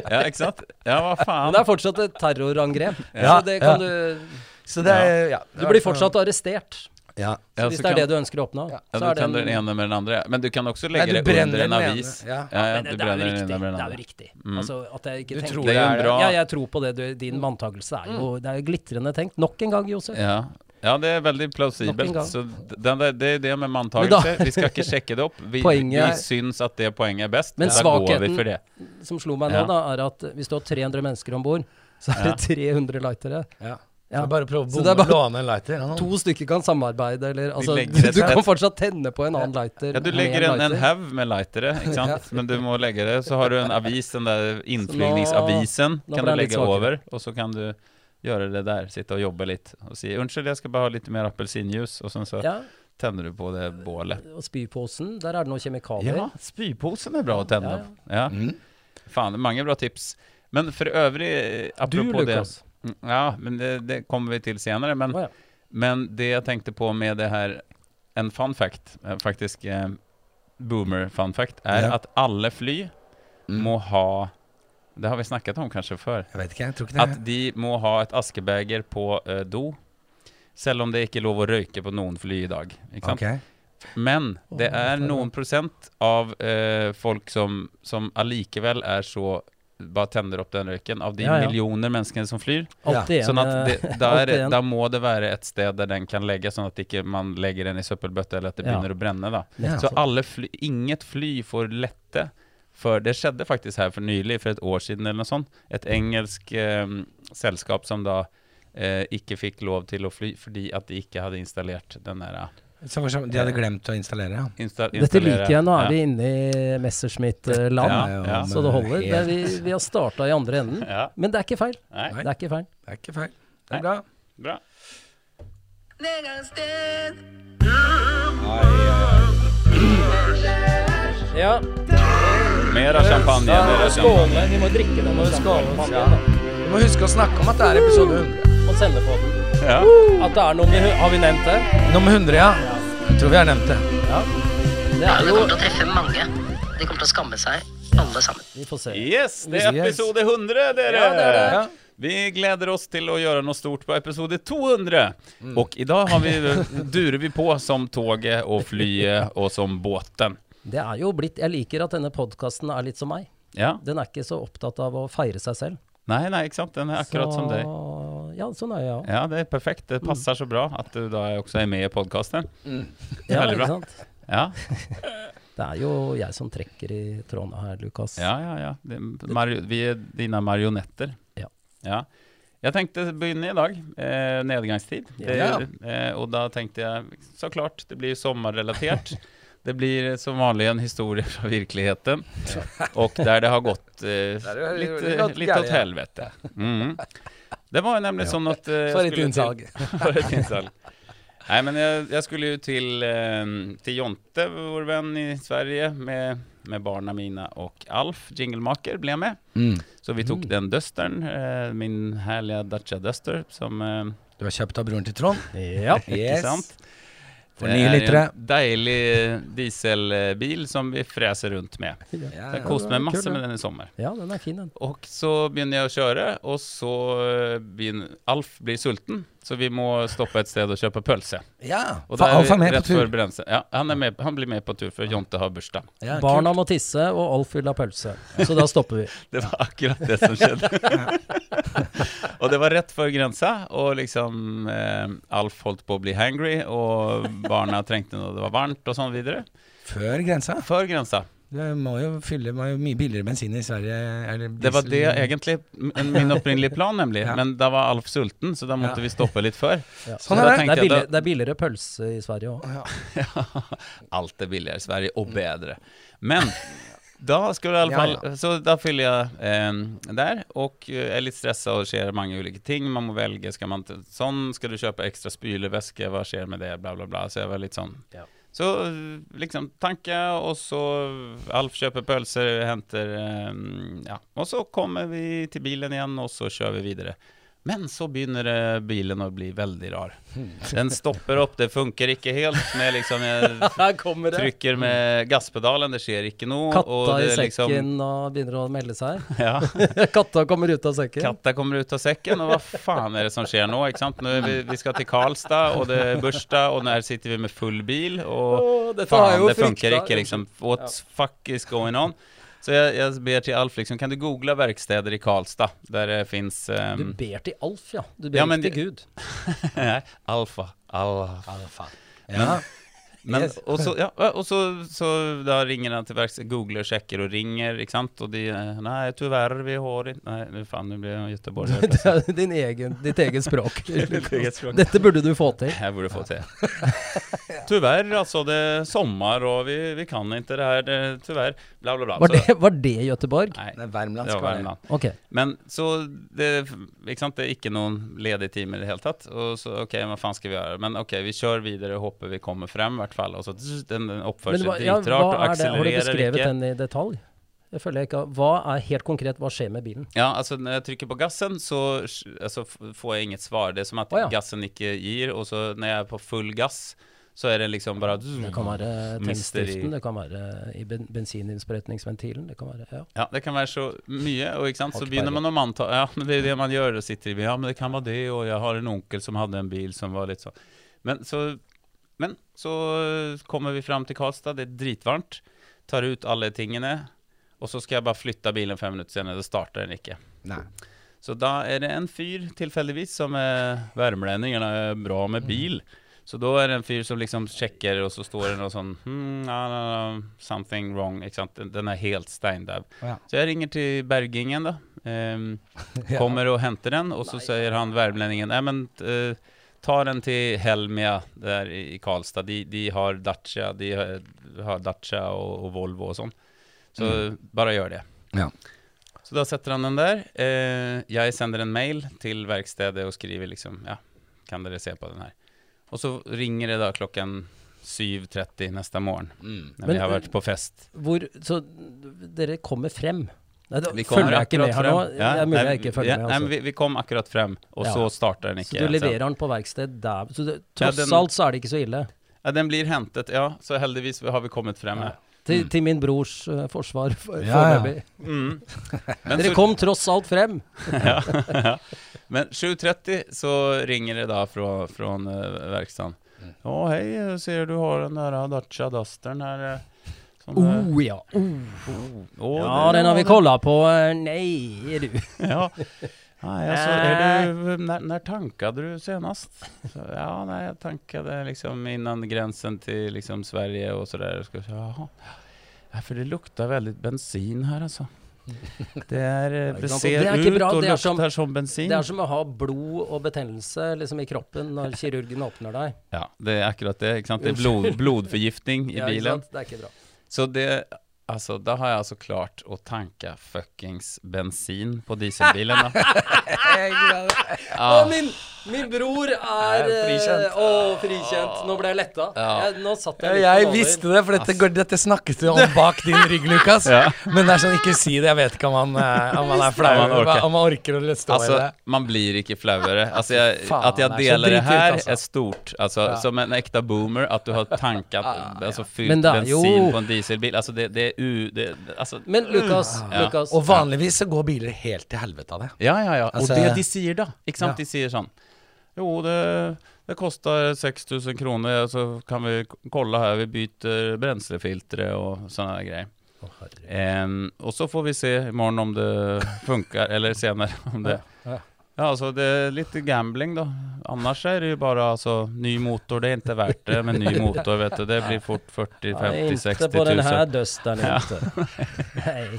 S2: Ja, ikke sant? Ja, hva
S3: Men
S2: faen.
S3: det er fortsatt et terrorangrep.
S1: Ja,
S3: Så det
S1: ja.
S3: kan du
S1: Så det er ja.
S3: Du blir fortsatt arrestert.
S1: ja.
S2: Ja,
S3: hvis
S2: så
S3: det
S2: kan-
S3: er det du ønsker å oppnå.
S2: Ja,
S3: Så
S2: du
S3: er det
S2: kan
S3: en-
S2: den ene med den andre. Men du kan også
S1: Nei,
S2: legge
S1: du
S2: det
S1: brenner
S2: under en
S1: den ene.
S2: avis.
S1: Ja.
S2: Ja, ja,
S3: Men
S2: du
S3: det, det er
S2: brenner
S3: jo
S2: den
S3: riktig.
S2: ene med den
S3: Det er jo
S2: andre.
S3: riktig. Altså, at jeg ikke
S1: Du
S3: tenker
S1: tror
S2: Mm. det er det.
S3: Ja, jeg tror på det. Du, din vantakelse er jo Det er jo glitrende tenkt. Nok en gang, Josef.
S2: Mm. Ja. ja, det er veldig
S3: Nok en
S2: plausibelt.
S3: gang.
S2: Så d- den der, det er det med
S3: Men
S2: manntagelse. Vi skal ikke sjekke det opp. Vi, vi
S3: Poenget er-
S2: syns at det poenget er best,
S3: Men
S2: og da går vi
S3: svakheten-
S2: for det.
S3: Som slo meg
S2: Ja.
S3: nå, da, er at hvis du har 300 mennesker om bord, så er det 300 lightere.
S1: Ja.
S3: Ja.
S1: Så Bare prøv å
S3: Så det
S1: bomme,
S3: er bare-
S1: låne en lighter. Ja, nå.
S3: To stykker kan samarbeide, eller altså,
S2: legger
S3: du,
S2: et-
S3: du kan fortsatt tenne på en annen lighter.
S2: Ja, du
S3: med
S2: legger en, en
S3: lighter.
S2: haug med lightere, ikke sant? men du må legge det. Så har du en avis, den der innflygningsavisen,
S3: nå ble
S2: kan du
S3: den litt
S2: legge
S3: svakere.
S2: over. Og så kan du gjøre det der, sitte og jobbe litt og si 'unnskyld, jeg skal bare ha litt mer appelsinjuice', og sånn så
S3: Ja,
S2: tenner du på det bålet.
S3: og spyposen, der er det noen kjemikalier.
S2: Ja, spyposen er bra å tenne
S3: Ja,
S2: opp. Ja. Faen, det er mange bra tips. Men for øvrig, eh,
S3: Du,
S2: apropos det
S3: Lukas.
S2: Mm, Ja, men det, det kommer vi til senere. Men,
S3: Å, ja.
S2: men det jeg tenkte på med det her En fun fact, eh, faktisk eh, boomer fun fact, er
S1: Ja.
S2: at alle fly
S1: Mm.
S2: må ha Det har vi snakket om kanskje før.
S1: Jeg vet ikke, jeg tror ikke det.
S2: At de må ha et askebeger på eh, do. Selv om det ikke er lov å røyke på noen fly i dag. Ikke sant?
S1: Ok.
S2: Men det
S3: Åh,
S2: er
S3: for-
S2: noen prosent av eh, folk som, som allikevel er så bare tenner opp den røyken av de
S3: Ja, ja.
S2: millioner menneskene som flyr.
S3: Alt igjen.
S2: Sånn at det, da, er,
S3: alt
S2: det-
S3: igjen.
S2: da må det være et sted der den kan legges, sånn at ikke man legger den i søppelbøtte eller at det
S3: Ja.
S2: begynner å brenne. Da.
S1: Ja.
S2: Så alle fly, inget fly får lette. For det skjedde faktisk her for nylig, for et år siden eller noe sånt. Et engelsk eh, selskap som da eh, ikke fikk lov til å fly fordi at de ikke hadde installert den der eh,
S1: Så for eksempel, de hadde glemt å installere, ja.
S2: insta-
S3: Dette
S2: installere-
S3: liker jeg. Nå
S2: Ja.
S3: er vi inne i Messerschmitt-land,
S2: Ja,
S1: Nei,
S2: ja.
S1: men
S3: så det holder.
S1: helt-
S3: Det, vi, vi har starta i andre enden.
S2: Ja.
S3: Men det er ikke feil.
S2: Nei.
S3: Det er ikke feil.
S1: Det er ikke feil. Det er bra.
S2: Bra.
S3: Ja,
S2: Mera champagne. Mera champagne.
S3: skåle. Vi må drikke den og skåle ja.
S1: Du må huske å snakke om at det er episode 100.
S3: og sende på den.
S2: Ja.
S3: At det er noe med Har vi nevnt det?
S1: Nummer 100, ja. Jeg tror vi har nevnt det.
S3: Det er
S5: Det
S3: jo
S5: kommer til å treffe mange. De kommer til å skamme seg, alle sammen.
S3: Vi får se.
S2: Yes, det er
S1: Yes.
S2: episode 100, dere!
S3: Ja, det er det.
S1: Ja.
S2: Vi gleder oss til å gjøre noe stort på episode 200.
S3: Mm.
S2: Og i dag har vi, durer vi på som toget og flyet og som båten.
S3: Det er jo blitt Jeg liker at denne podkasten er litt som meg.
S2: Ja.
S3: Den er ikke så opptatt av å feire seg selv.
S2: Nei, nei, ikke sant? Den er akkurat som deg.
S3: Ja, sånn er jeg òg.
S2: Ja, det er perfekt. Det
S3: Mm.
S2: passer så bra at du da også er med i podkasten.
S3: Ja,
S2: Veldig bra.
S3: ikke sant?
S2: Ja,
S3: Det er jo jeg som trekker i trådene her, Lukas.
S2: ja, ja. ja. Det, Mario, vi er dine marionetter.
S3: Ja.
S2: Ja. Jeg tenkte begynne i dag. Eh, nedgangstid. Det, eh, og da tenkte jeg så klart, det blir sommerrelatert. Det blir som vanlig en historie fra virkeligheten, og der det har gått eh,
S1: har det
S2: litt, eh,
S1: gått
S2: litt åt
S1: gærent.
S2: helvete. Mm. Det var jo nemlig sånn at eh, jeg
S1: For et
S2: skulle til-
S1: innsalg.
S2: For et innsalg. Nei, men jeg, jeg skulle jo til, eh, til Jonte, vår venn i Sverige, med, med barna mine og Alf, jinglemaker, ble jeg med.
S1: Mm.
S2: Så vi tok den dusteren, eh, min herlige Dacia Duster, som eh,
S1: Du har kjøpt av broren til Trond.
S3: Ja.
S1: Yes.
S2: sant?
S1: For
S2: det
S1: nye
S2: er
S1: lyttere.
S2: en deilig dieselbil som vi freser rundt med.
S1: Ja,
S2: Jeg
S1: ja.
S2: koste meg
S3: det er
S2: masse
S3: kul,
S2: med
S3: det.
S2: den i sommer.
S3: ja, den er fin, den.
S2: Og så begynner jeg å kjøre, og så eh, begynner Alf blir sulten, så vi må stoppe et sted og kjøpe pølse.
S1: ja.
S2: Og
S1: For
S2: da er
S1: Alf
S2: vi
S1: er med på
S2: rett før
S1: tur.
S2: bremsen. Ja, han, er med, han blir med på tur, for Jonte har bursdag.
S1: Ja, kult.
S3: Barna må tisse, og Alf vil ha pølse. Så da stopper vi.
S2: Det var akkurat det som skjedde. og det var rett før grensa, og liksom eh, Alf holdt på å bli hangry, og barna trengte noe det var varmt, og sånn videre.
S1: Før grensa.
S2: Før grensa.
S1: Det må jo fylle må jo mye billigere bensin i Sverige. Eller
S2: Det var
S1: diesel.
S2: det egentlig m- min opprinnelige plan, nemlig.
S1: Ja.
S2: Men da var Alf sulten, så da måtte
S1: Ja.
S2: vi stoppe litt før.
S3: Ja.
S2: Så
S1: Sånn er
S2: da
S1: det.
S3: Det er,
S2: tenkte jeg
S3: billig,
S2: da,
S3: det er billigere pølse i Sverige òg.
S2: alt er billigere i Sverige, og bedre. Men da skulle jeg i alle fall
S4: Ja,
S2: Så da fyller jeg eh, der, og eh, er litt stressa og ser mange ulike ting. Man må velge. Skal man til- sånn? Skal du kjøpe ekstra spylevæske? Hva skjer med det? Bla, bla, bla. Så jeg var litt sånn
S3: Ja.
S2: Så eh, liksom tanke, og så Alf kjøper pølser, henter eh, Ja. Og så kommer vi til bilen igjen, og så kjører vi videre. Men så begynner eh, bilen å bli veldig rar.
S4: Hmm.
S2: Den stopper opp, det funker ikke helt med liksom jeg
S3: Her kommer
S2: trykker med gasspedalen, det skjer ikke noe.
S3: Mm. Katta i
S2: det er liksom-
S3: sekken og begynner å melde seg.
S2: ja.
S3: Katta kommer ut av sekken.
S2: Katta kommer ut av sekken, og hva faen er det som skjer nå? ikke sant? Nå er vi, vi skal til Karlstad, og det er bursdag, og der sitter vi med full bil, og
S3: Åh, dette har jeg
S2: faen,
S3: jo
S2: det funker
S3: frykta.
S2: ikke, liksom. What fuck is going on? Så jeg, jeg ber til Alf, liksom, kan du google verksteder i Karlstad, der det fins
S3: Du
S2: um,
S3: ber til Alf, ja. Du ber
S2: Ja, men
S3: ikke til Gud.
S2: Alfa, Alfa
S1: Ja.
S2: Men,
S1: Yes.
S2: Og, så, ja, og så, så da ringer han til verks, googler, sjekker og ringer, ikke sant? Og de eh, Nei, tyverr, vi har ikke Nei, nu faen, nå blir jeg Göteborg. her
S3: Det
S2: plutselig.
S3: er din egen, ditt eget språk.
S2: Mitt eget språk.
S3: Dette burde du få til.
S2: Jeg burde få til. Tyverr, altså. Det er sommer, og vi, vi kan ikke det her. Det, tyverr. Bla, bla, bla.
S3: Var
S2: Så-
S3: det, var det Göteborg?
S2: Nei,
S4: Det er
S2: det
S4: Värmland.
S2: var Värmland.
S3: Ok.
S2: Men så det, ikke sant? det er ikke noen ledige timer i det hele tatt. Og så OK, hva faen skal vi gjøre? Men OK, vi kjører videre, håper vi kommer frem, i hvert fall. Og så zzz, den, den oppfører
S3: Men hva,
S2: seg
S3: ja, hva
S2: dritrart og
S3: er det? Har du
S2: akselererer
S3: beskrevet
S2: ikke.
S3: den i detalj? Jeg føler jeg ikke har- Hva er helt konkret, hva skjer med bilen?
S2: Ja, altså når jeg trykker på gassen, så sj- altså, f- får jeg inget svar. Det er som at
S3: Å, ja.
S2: gassen ikke gir, og så når jeg er på full gass, så er det liksom bare
S3: Det kan være
S2: Mm. Mister i-
S3: tennstiften, det kan være eh, i ben bensininnsprøytningsventilen, det kan være ja.
S2: Ja, det kan være så mye, og ikke sant? så
S3: Hakk
S2: begynner man å anta Ja, men det er det man gjør, og sitter i Ja, men det kan være det, og jeg har en onkel som hadde en bil som var litt sånn Men så, men, så kommer vi fram til Karlstad, det er dritvarmt, tar ut alle tingene, og så skal jeg bare flytte bilen fem minutter senere, så starter den ikke.
S4: Nei.
S2: Så da er det en fyr tilfeldigvis som er värmlänning, han er bra med bil. Så da er det en fyr som liksom sjekker, og så står det noe sånn hmm, ja, ja, ja, Something wrong. Ikke sant? Den- Den er helt steindau.
S1: Ja.
S2: Så jeg ringer til bergingen, da. Ehm,
S1: Ja.
S2: kommer og henter den, og så sier han värmlänningen Nei, men eh, ta den til Helmia der i i Karlstad. De, de har Dacia, de har, har Dacia og, og Volvo og sånn. Så
S3: Mm.
S2: bare gjør det.
S1: Ja.
S2: Så da setter han den der. Eh, jeg sender en mail til verkstedet og skriver liksom Ja, kan dere se på den her? Og så ringer det da klokken 7.30 neste morgen når
S3: Men,
S2: vi har
S3: eh,
S2: vært på fest.
S3: Hvor Så dere kommer frem? Nei, da
S2: Vi kommer
S3: følger jeg ikke
S2: akkurat
S3: med her nå.
S2: frem.
S3: Ja, det er mulig
S2: nei,
S3: jeg ikke følger
S2: ja,
S3: med.
S2: Nei, men
S3: Altså.
S2: vi, vi kom akkurat frem, og
S3: Ja.
S2: så starter den ikke. altså.
S3: Så du
S2: igjen sen.
S3: leverer den på verksted der. Så det,
S2: Ja,
S3: tross
S2: den-
S3: alt så er det ikke så ille.
S2: Ja, den blir hentet, ja. Så heldigvis har vi kommet frem her.
S3: Til, til min brors eh, forsvar
S1: Ja,
S3: for,
S1: ja.
S3: foreløpig.
S2: Mm. Men
S3: Dere
S2: så-
S3: kom tross alt frem.
S2: ja, ja. Men 7.30 så ringer det da fra, från eh, verkstaden.
S3: Mm.
S2: Ja, hej, jag ser du har den där Dacia Dustern här. eh, Som, eh,
S3: Oh ja. Oh.
S2: åh,
S3: Ja,
S2: det-
S3: den har vi
S2: ja,
S3: kolla på. Eh, Nei, er du
S2: den- Ja. Nej, alltså, är du,
S3: Eh.
S2: när, när tankade du senast? Så, ja, nej, jag tankade liksom innan gränsen till liksom Sverige och sådär. Jaha. Ja, för det luktar väldigt bensin här alltså. Det är, eh, det
S3: sant.
S2: ser
S3: Det är inte
S2: ut
S3: bra,
S2: och
S3: det är som-
S2: luktar som bensin.
S3: Det er som å ha blod og betennelse liksom, i kroppen når kirurgen åpner deg.
S2: Ja, det er akkurat det. ikke sant? Det er blod, blodforgiftning i
S3: Ja, ikke
S2: bilen.
S3: sant? Det er ikke bra.
S2: Så det Altså, da har jeg altså klart å tanke fuckings bensin på dieselbilen, da.
S3: Å,
S2: Ja,
S3: min, min bror
S1: Er
S3: er,
S1: frikjent.
S3: eh, Å, frikjent. Nå ble jeg letta.
S2: Ah. Ja.
S3: Jeg, nå satt
S1: Jeg,
S3: jeg litt på nåler.
S1: visste det, for dette, går- dette snakkes det om bak din rygg, Lukas.
S2: Ja.
S1: Men det er sånn, ikke si det. Jeg vet ikke om han, eh, om han er flau,
S2: Om han
S1: eller hva-
S2: orker.
S1: om han orker å stå
S2: altså,
S1: i det.
S2: man blir ikke flauere. Altså, jeg,
S1: Faen,
S2: at jeg
S1: det er så
S2: deler det
S1: dritkult,
S2: her,
S1: altså.
S2: er stort. Altså, Som en ekte boomer, at du har tanket altså,
S3: Men
S2: fylt
S3: det er jo-
S2: bensin på en dieselbil. Altså, det, det er u... Det, altså,
S3: Men Lukas,
S2: Ja.
S3: Lukas
S1: Og vanligvis så går biler helt til helvete av det.
S2: Ja, ja, ja.
S1: Altså-
S2: og det de sier da, ikke sant?
S1: Ja.
S2: De sier sånn Jo, det, det koster 6000 kroner, så kan vi k- kolla her, vi bytter brensefiltre og sånne her greier. Em, og så får vi se i morgen om det funker, eller senere om det
S1: Ja, ja.
S2: Ja, alltså det är lite gambling då. Annars är det ju bara alltså, ny motor, det är inte värt det med ny motor vet du. Det blir fort 40,
S3: Ja,
S2: 50,
S3: inte
S2: 60
S3: på den här
S2: 000.
S3: dösten inte. Nej.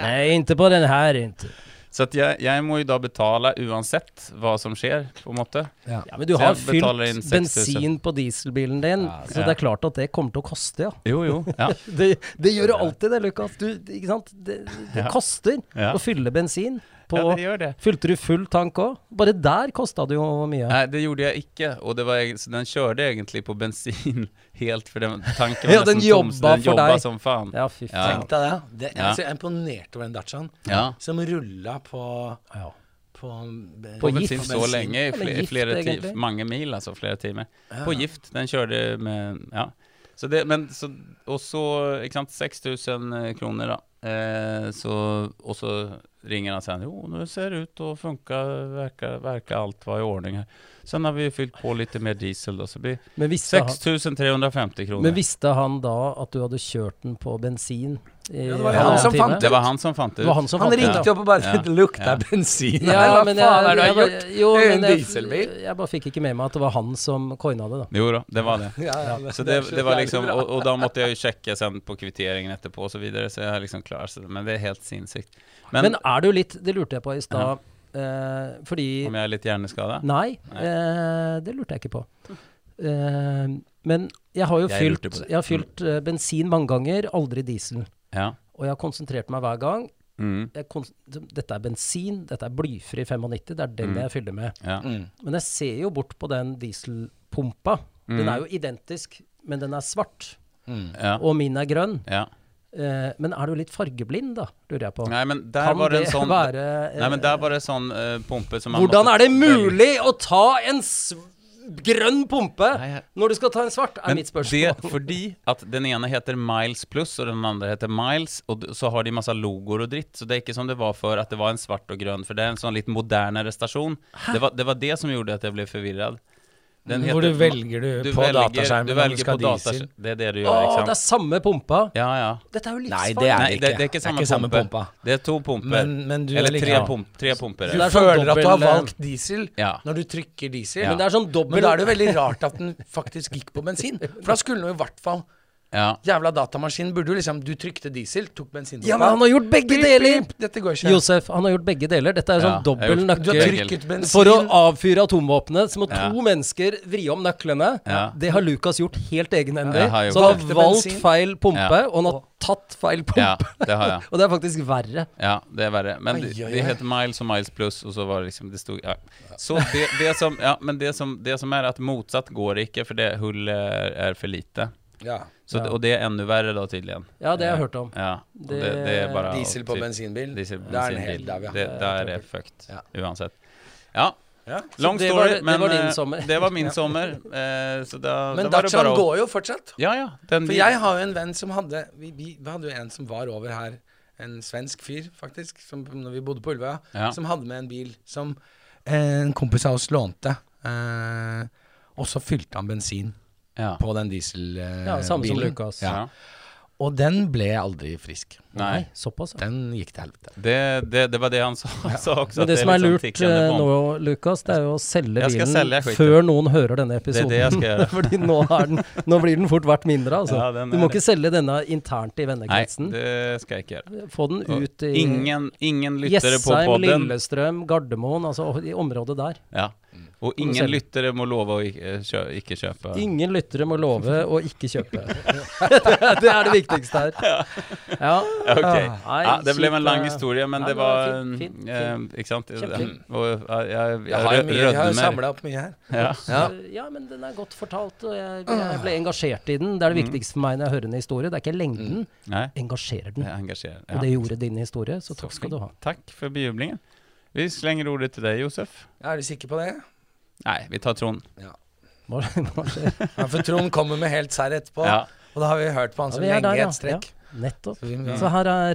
S3: Nej, inte på den här inte.
S2: Så att jag, jag må ju da betala uansett vad som sker på en måte.
S3: Ja, men du
S2: Så
S3: har
S2: jeg betaler inn
S3: fylt
S2: 6000.
S3: bensin på dieselbilen din, så
S2: ja.
S3: det er klart at det kommer til å koste, ja.
S2: Jo, jo. Ja.
S3: Det, det gjør det alltid det, Lukas. Du, ikke sant? Det, det koster
S2: Ja.
S3: å fylle bensin. På,
S2: Ja, det gjør det.
S3: Fylte du full tank òg? Bare der kosta det jo mye.
S2: Nei, det gjorde jeg ikke, og det var, egen- så den kjørte egentlig på bensin helt, for den tanken var
S3: Ja, den
S2: nesten tom, så
S3: jobba
S2: den
S3: for
S2: jobba
S3: deg.
S2: som faen.
S3: Ja, fy
S2: Ja.
S3: faen.
S1: Tenk deg det. det
S2: Ja.
S1: altså, jeg er imponert over den Dachaen
S2: Ja.
S1: som rulla på
S3: Ja.
S1: På,
S2: På
S3: På gift.
S2: bensin så lenge, i
S3: Eller
S2: flere,
S3: gift,
S2: flere ti,
S3: egentlig.
S2: mange mil altså, flere timer. På gift, den kjørte med, ja. Så det, men, så, og så, ikke sant, 6000 kroner da. Eh, så, og så ringer han sen, jo, nu ser det ut och funka, verkar, verkar allt vara i ordning här. Sen har vi ju fyllt på lite mer diesel då, så det blir
S3: Men visste, han,
S2: 6350 kronor.
S3: men visste han da at du hadde kjørt den på bensin? I,
S1: Ja, det var
S3: en
S1: han
S3: halv
S1: som
S3: time?
S1: fant
S2: Det var han som fant det
S3: Det var
S2: ut.
S3: han som
S1: Han
S3: fant
S1: ringte
S3: det.
S1: opp og bare
S2: Ja.
S1: 'Det lukter
S2: Ja.
S1: bensin
S3: Ja,
S1: her, hva
S3: men
S1: faen er det
S3: jeg,
S1: du har
S3: jeg,
S1: gjort?'
S3: jo,
S1: Det er jo
S3: men
S1: en
S3: jeg,
S1: dieselbil.
S3: jeg bare fikk ikke med meg at det var han som coina det, da.
S2: Jo då, det var det.
S1: Ja, ja, men
S2: Så det,
S1: er så
S2: det var
S1: jævlig
S2: liksom,
S1: bra.
S2: och, och då måste jag ju checka sen på kvitteringen etterpå och så vidare, så jag har liksom klarat sig. Men det är helt sinnssykt. Men,
S3: Men er du litt Det lurte jeg på i stad, eh, fordi
S2: om jag är lite hjärnskadad?
S3: Nei,
S2: Nei.
S3: Eh, det lurte jeg ikke på. Eh, men jeg har jo
S2: Jeg
S3: fylt,
S2: lurte på det.
S3: jeg har fylt eh, bensin mange ganger, aldri diesel.
S2: Ja.
S3: Og jeg har konsentrert meg hver gang.
S2: Mm.
S3: Jeg kon dette er bensin, dette er blyfri 95, det er den
S2: Mm.
S3: jeg fyller med.
S2: Ja.
S3: Men jeg ser jo bort på den dieselpumpa.
S2: Mm.
S3: Den er jo identisk, men den er svart.
S2: Ja.
S3: Og min er grønn.
S2: ja.
S3: Eh, men er du litt fargeblind, da? Lurer jeg på.
S2: Nej men där
S3: Kan
S2: var det en
S3: det
S2: sånn
S3: være, eh,
S2: Nej men där var det sån eh, pumpe som man
S3: Hvordan
S2: måtte-
S3: er det mulig å ta en s grønn pumpe
S2: Nei, jeg-
S3: når du skal ta en svart, er
S2: Men
S3: mitt spørsmål.
S2: Det, fordi at den ene heter Miles Plus og den andre heter Miles, og d- så har de masse logoer og dritt. Så det er ikke som det var før, at det var en svart og grønn, for det er en sånn litt modernere stasjon. Det var, det var det som gjorde at jeg ble forvirret. Den
S1: Hvor du velger du på dataskjermen
S2: du
S1: om du
S2: velger
S1: skal
S2: på
S1: ha
S2: datas-
S1: diesel.
S2: Det er det du
S3: Å,
S2: gjør, ikke
S3: det er
S2: sant?
S3: samme pumpa.
S2: Ja, ja.
S3: Dette er jo
S1: Nei,
S3: livsfarlig.
S1: det er
S2: Nei,
S1: det
S2: det,
S1: ikke.
S2: det er ikke samme,
S1: samme
S2: pumpe.
S1: pumpa.
S2: Det er to pumper.
S1: Men- men du er
S2: Eller
S1: like-
S2: tre,
S1: ja.
S2: pump, tre pumper.
S1: Du
S2: er det.
S3: er sånn
S1: føler at du har
S3: dobbel, eh,
S1: valgt diesel
S2: Ja.
S1: når du trykker diesel.
S2: Ja.
S3: Men det er sånn dobbel
S1: Men da er det jo veldig rart at den faktisk gikk på bensin. For da skulle den jo i hvert fall
S2: Ja.
S1: Jævla datamaskin burde jo liksom Du trykte diesel, tok bensin
S3: Ja, men han har gjort begge
S1: Pip,
S3: deler!
S1: pip, Dette går ikke.
S3: Josef, han har gjort begge deler. Dette er sånn
S2: Ja, jeg har
S3: dobbel
S2: gjort-
S1: Du har
S2: Gøy.
S3: nøkkel.
S1: trykket bensin.
S3: For å avfyre atomvåpenet så må
S2: Ja.
S3: to mennesker vri om nøklene.
S2: Ja.
S3: Det har Lukas gjort helt egenhendig.
S2: Jeg har gjort
S3: Så han
S1: det.
S3: har valgt
S1: Bensin.
S3: feil pumpe,
S2: Ja.
S3: og han har tatt feil
S2: ja,
S3: pumpe.
S2: det har jeg.
S3: Og det er faktisk verre.
S2: Ja, det er verre. Men det,
S1: Ai, ai,
S2: det
S1: ai.
S2: heter Miles og Miles Plus, og så var det liksom det stod, ja. Så det, det som, ja, men det som, det som er at motsatt går det ikke, for det hullet er, er for lite.
S1: Ja.
S2: Så, det- Og det er enda verre da, tydelig.
S3: Ja, det har jeg hørt om.
S2: Ja, og det,
S3: Det-
S2: det er bare
S1: Diesel på
S2: typ-
S1: bensinbil.
S2: Diesel på
S1: Da er den helt
S2: bensinbil.
S1: der, ja.
S2: Det, der er det fucked,
S1: Ja.
S2: uansett. Ja.
S1: Ja.
S2: Long
S3: Så det
S2: story,
S3: var- det
S2: men
S3: var din
S2: eh,
S3: sommer.
S2: det var min sommer. eh, så da,
S1: Men
S2: da var det bare
S1: Dachaen
S2: å-
S1: går jo fortsatt.
S2: Ja, ja. Den,
S1: For jeg har jo en venn som hadde vi, vi, vi hadde jo en som var over her, en svensk fyr faktisk, som, når vi bodde på Ulvøya,
S2: Ja.
S1: som hadde med en bil som eh, en kompis av oss lånte. Eh, og så fylte han bensin
S2: ja.
S1: på den dieselbilen.
S3: Ja, samme som Lukas.
S1: Ja.
S2: Ja.
S1: Og den ble aldri frisk.
S2: Nei.
S3: såpass. ja.
S1: Den gikk til helvete.
S2: Det, det, det var det han sa, sa også.
S3: Men
S2: at
S3: det som
S2: er
S3: er
S2: litt sånn
S3: lurt
S2: tikkende
S3: eh,
S2: bomb.
S3: nå, Lukas, det er jo å selge
S2: Jeg skal
S3: bilen
S2: selge, jeg skiter.
S3: før noen hører denne
S2: Det er
S3: episoden.
S2: det jeg skal gjøre.
S3: Fordi nå, er den, nå blir den fort verdt mindre, altså.
S2: Ja, den
S3: du
S2: er
S3: må
S2: det.
S3: ikke selge denne internt i
S2: Nei,
S3: vennekretsen.
S2: det skal jeg ikke gjøre.
S3: Få den ut i
S2: Ingen, ingen lyttere på
S3: Jessheim,
S2: podden.
S3: Lillestrøm, Gardermoen, altså i området der.
S2: Ja. Og
S3: Må
S2: ingen
S3: selge.
S2: lyttere må love å ikke, eh, kjø ikke kjøpe.
S3: Ingen lyttere må love å ikke kjøpe. det er det viktigste her. Ja. Ah.
S2: Ok.
S3: Nei,
S2: Ja, det ble
S3: kjipt,
S2: en lang
S3: eh.
S2: historie, men
S3: Nei,
S2: det
S3: men
S2: var
S3: fint, fint,
S2: eh,
S3: fint.
S2: Ikke sant? Og
S3: Kjempefint.
S2: jeg, jeg,
S1: Jeg har, jo mye- jeg har
S2: rødmer.
S1: jo samla opp mye her.
S2: Ja.
S1: Ja.
S3: Ja, men den er godt fortalt, og jeg, jeg
S2: Ah.
S3: ble engasjert i den. Det er
S2: Mm.
S3: det viktigste for meg når jeg hører en historie. Det er ikke lengden.
S2: Nei,
S3: Engasjerer den.
S2: jeg engasjerer.
S3: Og
S2: Mm. Ja.
S3: det gjorde din historie, så takk skal du ha.
S2: Takk for bejublingen. Vi slenger ordet til deg, Josef.
S1: Er du sikker på det?
S2: Nei, vi tar Trond.
S3: Hva, hva skjer?
S1: Ja, for Trond kommer med helt serr etterpå,
S2: Ja.
S1: og da har vi hørt på han
S3: Ja,
S1: som
S3: vi er
S1: lenge
S3: der,
S1: i
S3: ja.
S1: et strekk.
S3: Ja, nettopp.
S1: Så vi må-
S3: Så her er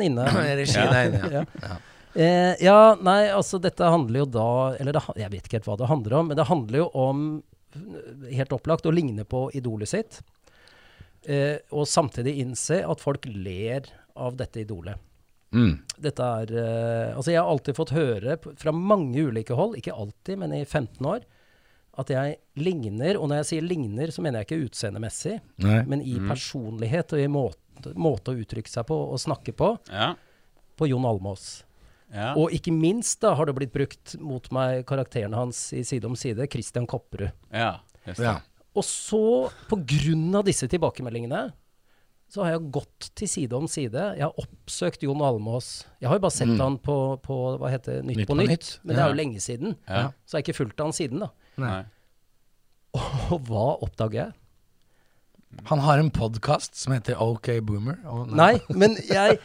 S3: inne.
S1: Regien er inne, ja.
S3: ja. Eh, ja, nei, altså dette handler jo da Eller det, ha- jeg vet ikke helt hva det handler om, men det handler jo om, eh, helt opplagt, å ligne på idolet sitt. Eh, og samtidig innse at folk ler av dette idolet.
S2: Mm.
S3: Dette er eh, Altså, jeg har alltid fått høre p- fra mange ulike hold, ikke alltid, men i 15 år, at jeg ligner. Og når jeg sier ligner, så mener jeg ikke utseendemessig,
S1: Nei. Mm.
S3: men i personlighet og i måte, måte å uttrykke seg på og snakke på,
S2: Ja.
S3: på Jon Almaas.
S2: ja.
S3: Og ikke minst da har det blitt brukt mot meg, karakteren hans i Side om side, Christian Kopperud.
S2: ja. Just det.
S1: Ja.
S3: Og så, på grunn av disse tilbakemeldingene, så har jeg gått til side om side. Jeg har oppsøkt Jon Almås. Jeg har jo bare sett han på, på hva heter det, Nytt
S1: Nytt
S3: på
S1: på
S3: Nytt,
S1: Nytt.
S3: men det er jo lenge siden.
S2: Ja.
S3: Så jeg har ikke fulgt han siden, da.
S2: Nei.
S3: Og hva oppdager jeg?
S1: Han har en podkast som heter OK Boomer. og-
S3: Nei, men jeg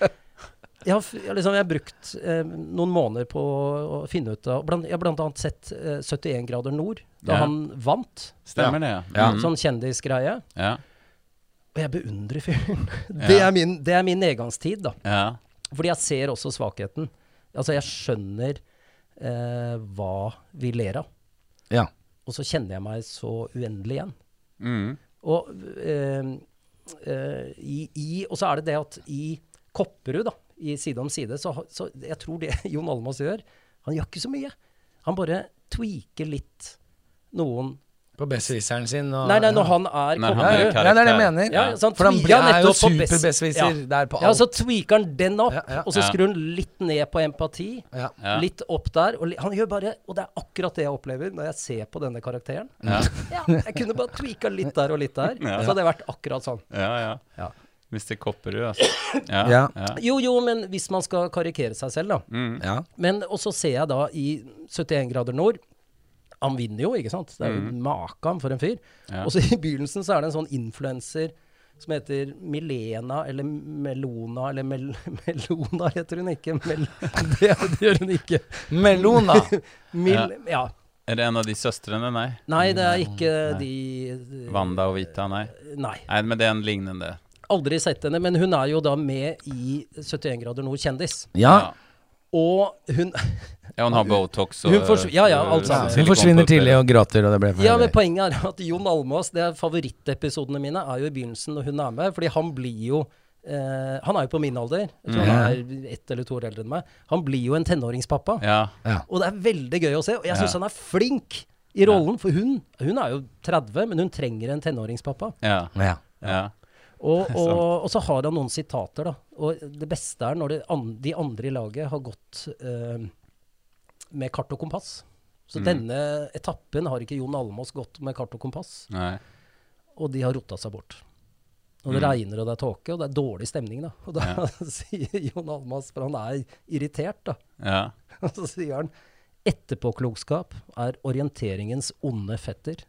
S3: jeg har, f- jeg, har liksom, jeg har brukt eh, noen måneder på å finne ut av blant, Jeg har blant annet sett eh, 71 grader nord, da
S2: Ja.
S3: han vant.
S2: Stemmer det, ja.
S1: Ja.
S2: Mm.
S3: Sånn kjendisgreie.
S2: Ja.
S3: Og jeg beundrer fyren. Det, er min, det er min nedgangstid, da.
S2: Ja.
S3: Fordi jeg ser også svakheten. Altså, jeg skjønner eh, hva vi ler av.
S1: Ja.
S3: Og så kjenner jeg meg så uendelig igjen.
S2: Mm.
S3: Og, eh, eh, i, i, og så er det det at i Kopperud, da, i Side om side, så, ha- så jeg tror det Jon Almaas gjør Han gjør ikke så mye. Han bare tweaker litt noen
S1: På besserwisseren sin og
S3: Nei, nei, når han er
S2: Når han
S1: Ah, ja,
S3: Kopperud.
S1: ja, ja, det er det jeg mener.
S3: Ja, så han
S1: For han
S3: twi-
S1: blir,
S3: ja,
S1: er jo
S3: nettopp, på best-
S1: superbesserwisser
S3: ja.
S1: der på
S3: Ja,
S1: alt.
S3: så tweaker han den opp,
S1: Ja, ja.
S3: og så
S2: Ja.
S3: skrur han litt ned på empati.
S1: Ja.
S2: Ja.
S3: Litt opp der. Og li han gjør bare Og det er akkurat det jeg opplever når jeg ser på denne karakteren.
S2: Ja.
S3: Ja, jeg kunne bare tweaka litt der og litt der,
S2: Ja.
S3: så hadde jeg vært akkurat sånn.
S2: Ja, ja.
S3: Ja.
S2: Mr. Kopperud, altså. Ja, ja.
S1: Ja.
S3: Jo, jo, men hvis man skal karikere seg selv, da.
S1: Ja.
S3: Men og så ser jeg da i 71 grader nord Han vinner jo, ikke sant? Det er jo makan for en fyr.
S2: Ja.
S3: Og så i begynnelsen så er det en sånn influenser som heter Milena, eller Melona, eller Mel Melona heter hun ikke. Mel det, det gjør hun ikke.
S1: Melona.
S3: Mil ja.
S2: Er det en av de søstrene? Nei.
S3: Nei, det er ikke de
S2: Wanda og Vita? Nei.
S3: Nei.
S2: Nei, men det er en lignende.
S3: Aldri sett henne, men hun er jo da med i 71 grader nord kjendis.
S1: ja.
S3: Og hun
S2: Ja, hun har botox og
S3: Hun forsv- ja, ja, alt
S2: øh,
S3: sammen.
S1: Hun forsvinner tidlig og gråter, og det ble for
S3: Ja, men
S1: jævlig.
S3: poenget er at Jon Almaas, det er favorittepisodene mine, er jo i begynnelsen når hun er med, fordi han blir jo eh, Han er jo på min alder, jeg tror
S2: Mhm.
S3: han er ett eller to år eldre enn meg. Han blir jo en tenåringspappa.
S2: Ja.
S3: Og det er veldig gøy å se, og jeg syns
S2: Ja.
S3: han er flink i rollen, for hun, hun er jo 30, men hun trenger en tenåringspappa.
S2: Ja.
S1: Ja.
S2: ja.
S3: Og, og, og så har han noen sitater, da. Og det beste er når det an, de andre i laget har gått eh, med kart og kompass. Så
S2: Mm.
S3: denne etappen har ikke Jon Almaas gått med kart og kompass,
S2: Nei.
S3: og de har rota seg bort. Og
S2: Mm.
S3: det regner, og det er tåke, og det er dårlig stemning, da. Og da sier Jon Almaas, for han er irritert, da,
S2: Ja.
S3: og så sier han Etterpåklokskap er orienteringens onde fetter.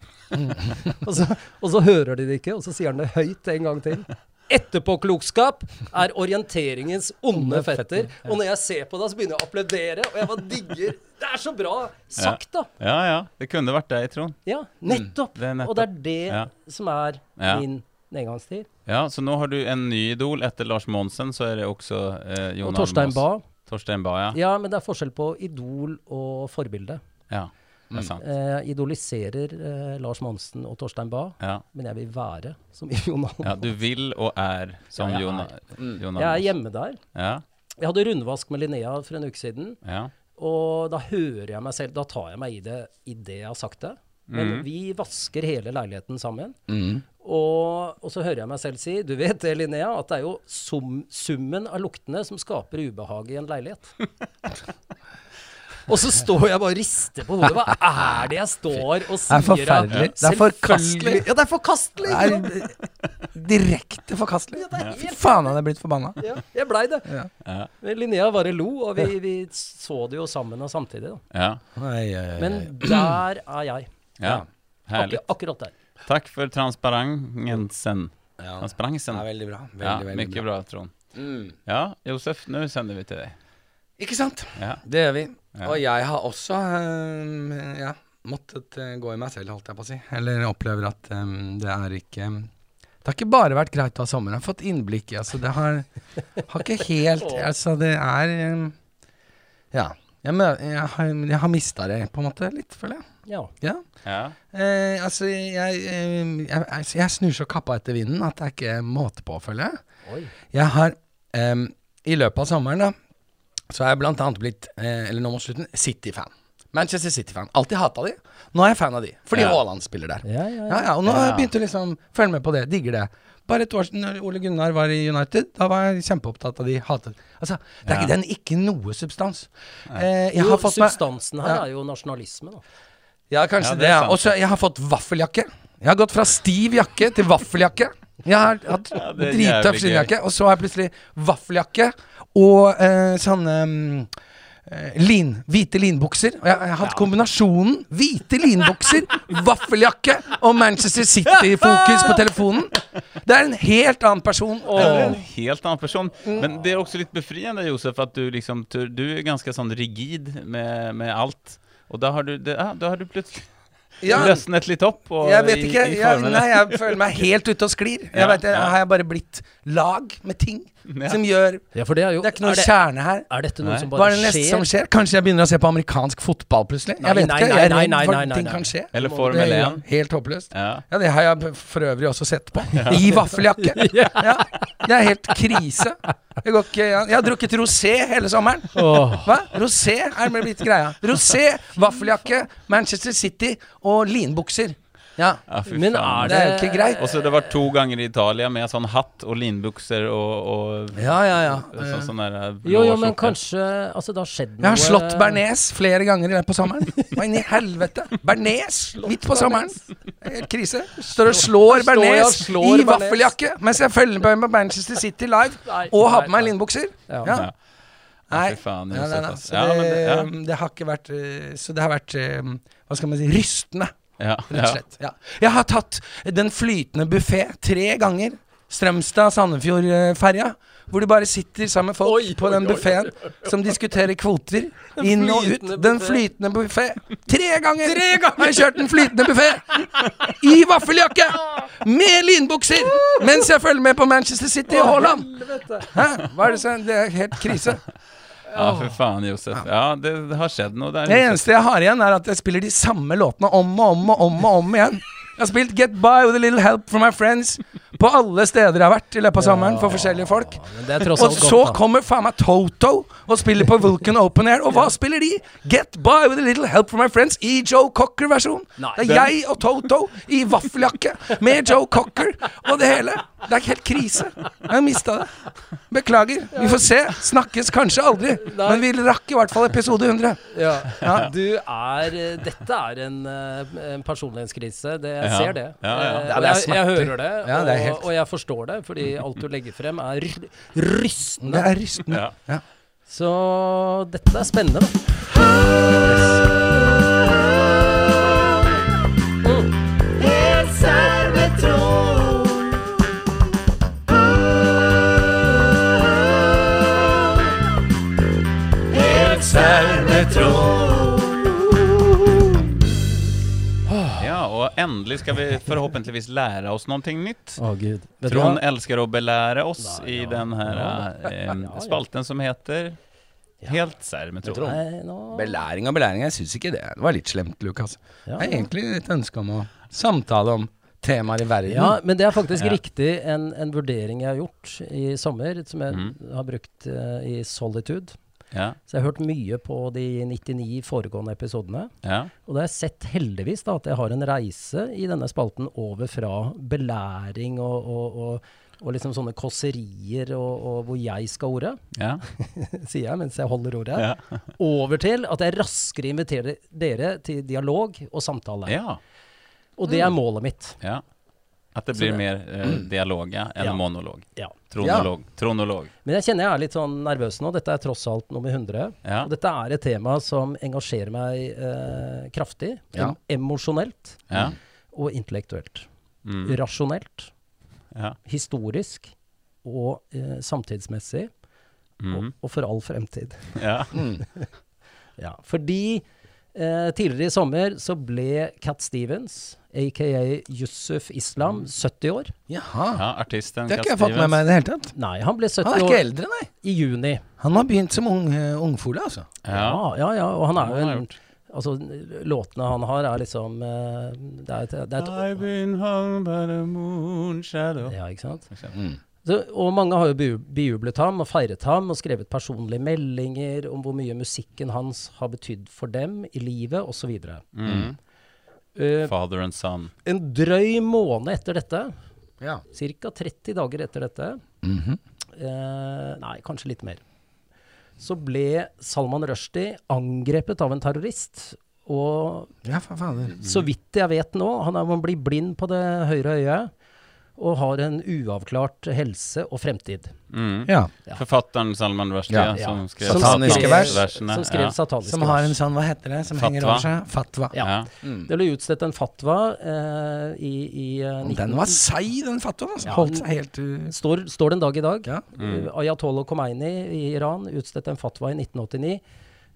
S3: og, så, og så hører de det ikke, og så sier han det høyt en gang til. Etterpåklokskap er orienteringens onde fetter. Og når jeg ser på det, så begynner jeg å applaudere, og jeg bare digger Det er så bra sagt, da!
S2: ja, ja. Det kunne vært deg, Trond.
S3: Ja, nettopp!
S2: Det er nettopp.
S3: Og det er det
S2: Ja.
S3: som er
S2: Ja.
S3: min nedgangstid.
S2: Ja, så nå har du en ny idol. Etter Lars Monsen så er det også eh, Jon
S3: Og Torstein
S2: Almaas.
S3: Bae.
S2: Torstein Bae, ja.
S3: Ja, men det er forskjell på idol og forbilde.
S2: ja. Det er sant.
S3: Eh, idoliserer eh, Lars Monsen og Torstein Bae.
S2: Ja.
S3: Men jeg vil være som Jon Almaas.
S2: ja. Du vil og er som
S3: Ja, Mm. jeg
S2: Jon
S3: er.
S2: Jon
S3: Jeg er
S2: Almaas.
S3: hjemme der.
S2: Ja,
S3: Jeg hadde rundvask med Linnea for en uke siden,
S2: ja.
S3: og da hører jeg meg selv Da tar jeg meg i det i det jeg har sagt det. Men
S1: Mhm.
S3: vi vasker hele leiligheten sammen. Og, og så hører jeg meg selv si Du vet det, Linnea, at det er jo sum, summen av luktene som skaper ubehag i en leilighet. og så står jeg bare og rister på hodet. Hva er det jeg står og
S1: Det
S3: sier?
S1: er forferdelig. Det er forkastelig.
S3: Ja, det er forkastelig!
S1: Det
S3: ikke sant?
S1: er direkte forkastelig.
S3: Ja, det er
S1: Fy
S3: helt-
S1: faen, han er blitt forbanna.
S3: Ja, jeg blei det.
S1: Ja.
S2: Ja.
S3: Men Linnea bare lo, og vi, vi så det jo sammen og samtidig. Da.
S2: ja.
S3: Men
S1: Eh.
S3: der er jeg.
S2: ja. Herlig.
S3: Akkur akkurat der.
S2: Takk for transparensen. Transparensen.
S1: veldig bra.
S2: Ja, mycket bra Trond.
S3: Mm.
S2: Ja, Josef, nu sänder vi till dig.
S1: Ikke sant?
S2: Ja.
S1: Det gjør vi.
S2: Ja.
S1: Og jeg har også øhm, ja, måttet øh, gå i meg selv, holdt jeg på å si. Eller opplever at øhm, det er ikke Det har ikke bare vært greit å ha sommer. Jeg har fått innblikk i altså, Det har, har ikke helt Altså, det er øhm, Ja. Jeg, mø jeg har, jeg har mista det, på en måte, litt, føler jeg.
S3: Ja.
S1: Ja.
S2: Ja.
S1: Eh, altså, jeg, eh, jeg, altså, jeg snur så kappa etter vinden at det er ikke måte på, føler jeg.
S3: Oi.
S1: Jeg har em, i løpet av sommeren da, så er jeg blant annet blitt, eh, eller nå mot slutten, City-fan. Manchester City-fan. Alltid hata de. Nå er jeg fan av de, fordi
S2: Ja.
S1: Haaland spiller der.
S3: Ja, ja, ja.
S1: ja, Og nå har jeg begynt å liksom følge med på det. Digger det. Bare et år siden når Ole Gunnar var i United, da var jeg kjempeopptatt av de. Hatet Altså, det er ikke den ikke noe substans. Eh, jeg
S3: Jo,
S1: har fått meg
S3: substansen her
S1: Ja.
S3: er jo nasjonalisme, da.
S1: Ja, kanskje
S2: Ja, det
S1: det.
S2: er
S1: ja.
S2: sant.
S1: Og så jeg har fått vaffeljakke. Jeg har gått fra stiv jakke til vaffeljakke. Jeg har hatt
S2: det er
S1: drita
S2: jævlig
S1: skinnjakke, og så har jeg plutselig vaffeljakke og eh, sånne mm, eh, lin, hvite linbukser. Og jeg, jeg har hatt kombinasjonen hvite linbukser, vaffeljakke og Manchester City-fokus på telefonen. Det er en helt annen person.
S2: Ja,
S1: Og
S2: det er en helt annen person. Men
S1: Mm.
S2: det er også litt befriende, Josef, at du liksom Du du er ganske sånn rigid med, med alt. Og da har du, det, ja, da har du plutselig
S1: ja,
S2: løsnet litt opp. Og,
S1: jeg vet
S2: i-
S1: ikke.
S2: i
S1: Jeg,
S2: formene.
S1: nei, jeg føler meg helt ute og sklir. Jeg
S2: Ja,
S1: vet, jeg,
S2: ja.
S1: har jeg bare blitt lag med ting
S2: Ja.
S1: som gjør
S3: Ja, for det er jo
S1: Det er ikke noe
S3: er, det,
S1: kjerne her.
S3: er dette noe
S2: Nei.
S3: som
S1: Hva
S3: bare
S1: er det neste
S3: skjer?
S1: som skjer? Kanskje jeg begynner å se på amerikansk fotball plutselig?
S3: Nei,
S1: jeg vet ikke.
S3: nei,
S1: Jeg er
S3: nei,
S1: redd
S3: nei,
S1: for
S3: nei,
S1: at
S3: nei,
S1: ting
S3: nei.
S1: kan skje.
S2: Eller
S1: Det
S2: Formel
S1: er
S2: 1.
S1: helt håpløst. Ja.
S2: Ja.
S1: det har jeg for øvrig også sett på. I vaffeljakke. Ja, det er helt krise. Jeg, går ikke, jeg, jeg har drukket rosé hele sommeren.
S3: Åh.
S1: Hva? Rosé er med blitt greia. Rosé, vaffeljakke, Manchester City og linbukser. Ja.
S2: Ja, fy
S3: Men
S2: faen.
S1: Det
S3: er det
S1: er jo ikke greit.
S2: Og så det var to ganger i Italia med sånn hatt og linbukser og, og
S1: Ja, ja, ja.
S2: sånn, sånn der eh, blå
S3: Jo, jo, men
S2: skjorte.
S3: kanskje Altså, det har skjedd noe
S1: Jeg har slått bearnés flere ganger i løpet av sommeren. Hva inn i helvete? Bearnés midt på sommeren. Helt krise. Står og slår
S3: Står jeg og
S1: bearnés
S3: slår
S1: i
S3: bearnés.
S1: vaffeljakke mens jeg følger med på Manchester City live
S3: Nei,
S1: og har
S3: nei,
S1: på meg
S3: nei.
S1: linbukser.
S3: Ja.
S1: Ja.
S2: Ja.
S1: Nei.
S2: Fy faen,
S1: Nei, nei, nei.
S2: Josef, ass.
S1: Så
S2: Ja, men
S1: det,
S2: det-
S1: um, det har ikke vært uh, Så det har vært um, Hva skal man si rystende,
S2: Ja,
S1: rett og
S2: ja.
S1: slett. Ja. Jeg har tatt den flytende buffé tre ganger. Strømstad-Sandefjord-ferja. Hvor du bare sitter sammen med folk
S3: Oi,
S1: på
S3: oi,
S1: den
S3: oi,
S1: buffeen som diskuterer kvoter inn og ut.
S3: flytende
S1: Den
S3: buffet.
S1: flytende buffé. Tre ganger har jeg kjørt den flytende buffé i vaffeljakke! Med linbukser! Mens jeg følger med på Manchester City og Haaland. Hæ? Hva er det som Det er helt krise.
S2: ja, for faen, Josef. Ja, det har skjedd noe der.
S1: Det
S2: Josef.
S1: eneste jeg har igjen, er at jeg spiller de samme låtene om og om og om og om igjen. Jeg har spilt Get By With A Little Help From My Friends på alle steder jeg har vært i løpet av sommeren for forskjellige folk.
S3: Ja, men det er tross
S1: Og
S3: alt
S1: så
S3: godt, da.
S1: kommer faen meg Toto og spiller på Vulcan Open Air. Og hva spiller de? Get By With A Little Help From My Friends i Joe Cocker-versjon.
S3: Nei.
S1: Det er jeg og Toto i vaffeljakke med Joe Cocker og det hele. Det er helt krise. Jeg har mista det. Beklager. Vi får se. Snakkes kanskje aldri. Men vi rakk i hvert fall episode 100.
S3: Ja.
S1: Ja.
S3: Du er eh, Dette er en, eh, en personlighetskrise. Det, jeg
S2: Ja.
S3: ser det.
S2: Ja, ja.
S3: Eh,
S1: Ja,
S3: og
S1: det er
S3: jeg, jeg
S1: smerter.
S3: hører det,
S1: Ja, det er helt-
S3: og, og jeg forstår det, fordi alt du legger frem, er ry-
S1: Det
S3: rystende.
S1: er rystende.
S2: Ja.
S3: Så dette er spennende, da.
S2: liksom- ja, og endelig skal vi forhåpentligvis lære oss noe nytt.
S3: Å, gud. Vet du
S2: Trond
S3: hva?
S2: elsker å belære oss i den her eh,
S3: ja.
S2: spalten som heter Helt serr med Trond.
S3: Nei, nå-
S1: Belæring og belæring, jeg syns ikke det. Det var litt slemt, Lukas. Jeg
S3: Ja.
S1: har egentlig et ønske om å samtale om temaer i verden.
S3: Ja, men det er faktisk riktig en, en vurdering jeg har gjort i sommer, som jeg har brukt eh, i Solitude.
S2: Ja,
S3: Så jeg har hørt mye på de 99 foregående episodene.
S2: ja.
S3: Og da har jeg sett heldigvis da, at jeg har en reise i denne spalten over fra belæring og, og, og, og liksom sånne kåserier og, og hvor jeg skal ordet,
S2: ja.
S3: sier jeg mens jeg holder ordet, over til at jeg raskere inviterer dere til dialog og samtale.
S2: ja.
S3: Og det er målet mitt.
S2: ja. At det blir mer eh, dialog ja, enn
S3: Ja.
S2: monolog.
S3: Ja.
S2: Tronolog. Tronolog.
S3: Men jeg kjenner jeg er litt sånn nervøs nå. Dette er tross alt nummer 100.
S2: Ja.
S3: Og dette er et tema som engasjerer meg eh, kraftig.
S1: Ja.
S3: Em emosjonelt
S2: Ja.
S3: og intellektuelt.
S2: Mm.
S3: Rasjonelt,
S2: Ja.
S3: historisk og eh, samtidsmessig. Og,
S2: Mm.
S3: og for all fremtid.
S2: ja.
S3: Ja. Fordi eh, tidligere i sommer så ble Cat Stevens, aka Yusuf Islam, 70 år.
S1: Jaha.
S2: ja. Artisten
S1: Det har
S2: Cat
S1: ikke jeg fått med
S2: Stevens.
S1: meg i det hele tatt.
S3: Nei, han ble 70
S1: Han er ikke
S3: år
S1: eldre, nei.
S3: i juni.
S1: Han har begynt som ung, eh, ungfole, altså.
S2: Ja.
S3: Ja, ja, ja. Og han er
S2: Han
S3: jo
S2: har
S3: en
S2: gjort.
S3: Altså, låtene han har, er liksom eh, Det er et, det er et
S2: been hung by the moon shadow. Mm.
S3: Ja, ikke sant? Så, og mange har jo beju- bejublet ham og feiret ham og skrevet personlige meldinger om hvor mye musikken hans har betydd for dem i livet, osv.
S2: Mm.
S3: Uh,
S2: Father and son.
S3: en drøy måned etter dette,
S1: Ja.
S3: ca. 30 dager etter dette,
S1: Mhm.
S3: eh, nei, kanskje litt mer, så ble Salman Rushdie angrepet av en terrorist. Og
S1: Ja, for fader.
S3: så vidt jeg vet nå, han er, man blir blind på det høyre øyet og har en uavklart helse og fremtid.
S2: Mm.
S1: Ja.
S3: Ja.
S2: Forfatteren Salman Rushdie,
S1: Ja.
S2: som skrev
S3: Som
S1: sataniske
S3: skrev-
S1: vers.
S2: versene,
S3: Som skrev
S2: ja.
S3: sataniske
S1: Som har en
S3: vers.
S1: sånn, hva heter det, som henger
S2: Fatwa.
S1: over seg? Fatwa.
S3: Ja.
S2: Ja.
S1: Mm.
S3: Det ble utstedt en fatwa eh, i, i eh,
S1: Og
S3: 19...
S1: Den var seig, den fatwaen. Altså.
S3: Ja,
S1: Holdt
S3: den-
S1: seg helt eh, ut.
S3: Står, står den dag i dag.
S1: Ja.
S2: Mm.
S3: Eh, Ayatollah Khomeini i Iran utstedte en fatwa i 1989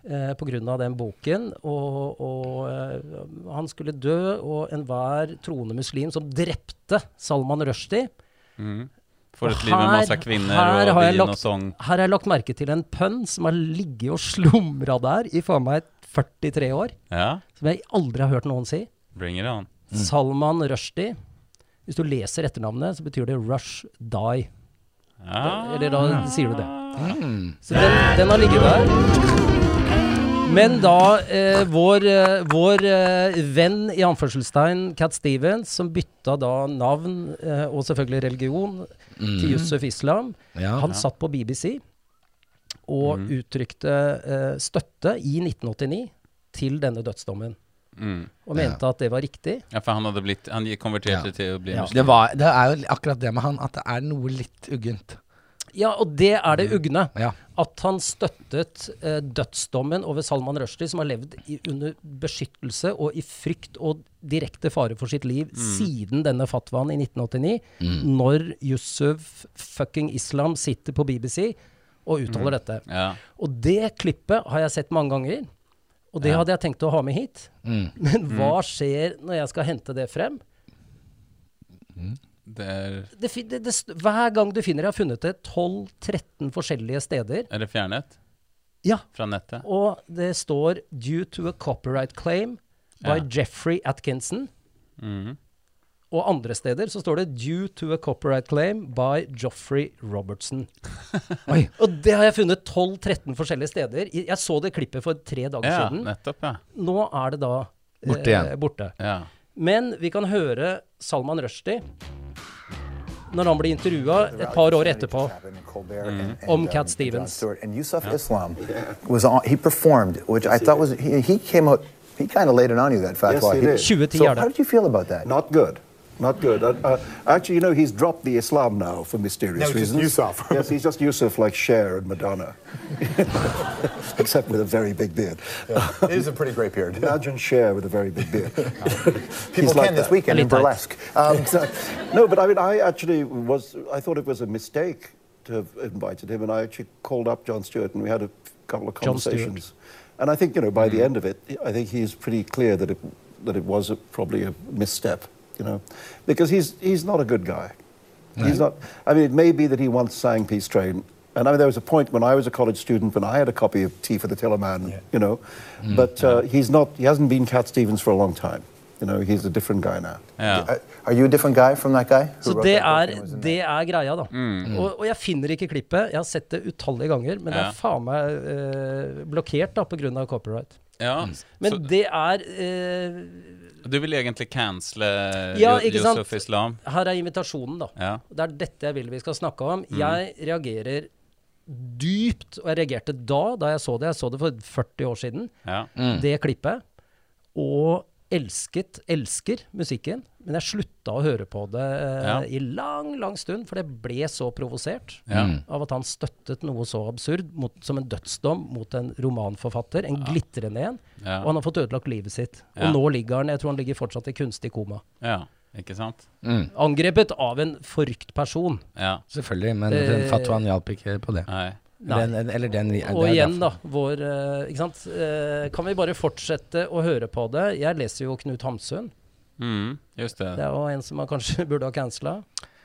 S3: eh, pga. den boken. Og, og eh, han skulle dø, og enhver troende muslim som drepte Salman Rushdie
S2: Mm. For
S3: Og
S2: et liv med
S3: her-
S2: masse kvinner
S3: her
S2: og
S3: har jeg
S2: vin og sånn.
S3: lagt-
S2: sång.
S3: Her har jeg lagt merke til en pønn som har ligget og slumra der i faen meg 43 år.
S2: Ja,
S3: Som jeg aldri har hørt noen si.
S2: bring it on.
S3: Salman Rushdie. Hvis du leser etternavnet, så betyr det Rush Die.
S2: Ja.
S3: Eller da sier du det.
S1: Mm.
S3: Så den, den har ligget der. Men da eh, vår, eh, vår eh, venn i anførselstegn, Cat Stevens, som bytta da navn eh, og selvfølgelig religion til Yusuf Islam,
S1: Ja.
S3: han satt på BBC og uttrykte eh, støtte i 1989 til denne dødsdommen.
S2: Mm.
S3: Og mente at det var riktig.
S2: Ja, for han hadde blitt Han konverterte
S1: Ja.
S2: til å bli
S3: Ja.
S2: muslim.
S1: Det, var, det er jo akkurat det med han, at det er noe litt uggent.
S3: Ja, og det
S2: Mm.
S3: er det ugne.
S1: Ja.
S3: At han støttet eh, dødsdommen over Salman Rushdie, som har levd i, under beskyttelse og i frykt og direkte fare for sitt liv
S2: Mm.
S3: siden denne fatwaen i 1989, når Yusuf fucking Islam sitter på BBC og uttaler dette.
S2: Mm. Ja.
S3: Og det klippet har jeg sett mange ganger, og det
S2: Ja. Mm.
S3: hadde jeg tenkt å ha med hit. Men hva skjer når jeg skal hente det frem?
S2: Det er,
S3: Det, fin- det, det, st- hver gang du finner Jeg har funnet det 12-13 forskjellige steder.
S2: er det fjernet
S3: Ja,
S2: fra nettet?
S3: Og det står 'due to a copyright claim by
S2: Ja.
S3: Jeffrey Atkinson'.
S2: Mhm.
S3: Og andre steder så står det 'due to a copyright claim by Joffrey Robertson'.
S1: Oi.
S3: Og det har jeg funnet 12-13 forskjellige steder. I- Jeg så det klippet for tre dager
S2: Ja,
S3: siden.
S2: nettopp, ja.
S3: Nå er det da eh,
S1: Borte igjen.
S3: borte.
S2: ja.
S3: Men vi kan høre Salman Rushdie når han blir intervjua et par år etterpå. Mm. Om
S6: Om
S3: Cat Stevens.
S6: And Yusuf Islam was on, he performed, which I thought was, he, he came out, he kind of laid it on you, that fatwa.
S7: Yes, he did.
S3: 2010
S6: So
S3: er
S6: how
S3: det.
S6: did you feel about that?
S7: Not good. Not good. Uh, uh, actually, you know, he's dropped the Islam now for mysterious
S8: No, it's just
S7: reasons.
S8: Yusuf.
S7: yes, he's just Yusuf like Cher and Madonna, except with a very big beard.
S8: It is a pretty great beard.
S7: Imagine Cher with a very big beard.
S6: People
S7: He's
S6: can
S7: like
S6: this
S7: that.
S6: weekend in
S3: Elite tight.
S6: burlesque.
S7: Um, so- no, but I mean, I actually was, I thought it was a mistake to have invited him, and I actually called up John Stewart and we had a couple of
S3: John Stewart. Hmm.
S7: conversations. And I think, you know, by the end of it, I think he's pretty clear that it, that it was a, probably a misstep, you know, because he's, he's not a good guy. He's not, I mean, it may be that he once sang Peace Train. And I mean, there was a point when I was a college student when I had a copy of Tea for the Tiller Man, you know.
S3: Hmm.
S7: But uh, he's not, he hasn't been Cat Stevens for a long time. You know, he's a different guy now.
S2: ja.
S6: Uh, Are you a different guy from that guy? who
S3: Så
S6: wrote
S3: det
S6: that book
S3: er,
S6: and was in
S3: det er greia, da.
S2: Mm.
S3: Og, og jeg finner ikke klippet. Jeg har sett det utallige ganger, men det
S2: Ja.
S3: er faen meg eh, blokkert da pga. copyright.
S2: ja.
S3: Men
S2: Så
S3: det er eh,
S2: du vil egentlig cancele
S3: Ja,
S2: Ju-
S3: ikke sant?
S2: Yusuf Islam?
S3: Her er invitasjonen, da.
S2: Ja. Mm.
S3: Det er dette jeg vil vi skal snakke om. Jeg reagerer dypt, og jeg reagerte da, da jeg så det. Jeg så det for 40 år siden,
S2: ja.
S3: det klippet. Og elsket, elsker musikken. Men jeg slutta å høre på det eh,
S2: Ja.
S3: i lang, lang stund, for det ble så provosert.
S2: ja.
S3: av at han støttet noe så absurd mot, som en dødsdom mot en romanforfatter, en glitrende en,
S2: Ja.
S3: og han har fått ødelagt livet sitt.
S2: Ja.
S3: Og nå ligger han, jeg tror han ligger fortsatt i kunstig koma.
S2: ja. Ikke sant?
S3: Angrepet av en forrykt person.
S2: Ja.
S1: Selvfølgelig, men den fatwaen hjalp ikke på det.
S2: Nei.
S3: Nei.
S1: Den, eller den det er
S3: Og igjen,
S1: derfor.
S3: da, vår eh, Ikke sant. Eh, kan vi bare fortsette å høre på det? Jeg leser jo Knut Hamsun.
S2: Mm, just
S3: Det
S2: det.
S3: er jo en som man kanskje burde ha cancela.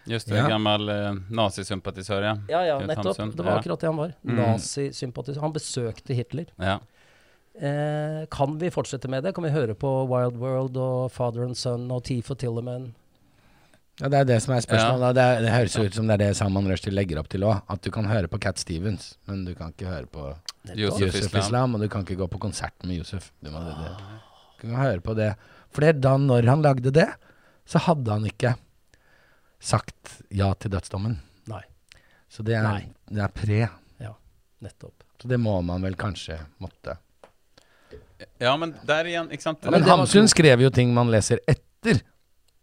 S2: Just det.
S1: Ja.
S2: Gammel eh, nazisympatisør, ja.
S3: Ja, ja,
S2: Knut
S3: nettopp.
S2: Hamsun,
S3: Det var
S2: ja.
S3: akkurat det han var. Nazisympatisør. Han besøkte Hitler.
S2: Ja.
S3: Eh, kan vi fortsette med det? Kan vi høre på Wild World og Father and Son og T for Tillerman?
S1: Ja, det er det som er spørsmålet. da. Det, er, det høres jo ut som det er det Salman Rushdie legger opp til òg. At du kan høre på Cat Stevens, men du kan ikke høre på
S2: Josef
S1: Josef Islam.
S2: Islam.
S1: Og du kan ikke gå på konsert med Josef. Du, må, det,
S3: Ah.
S1: det. du kan høre på det. For det da når han lagde det, så hadde han ikke sagt ja til dødsdommen.
S3: Nei.
S1: Så det er,
S3: Nei.
S1: det er pre.
S3: Ja, nettopp.
S1: Så det må man vel kanskje måtte.
S2: Ja, men der igjen, ikke sant?
S1: Men Hamsun skrev jo ting man leser etter.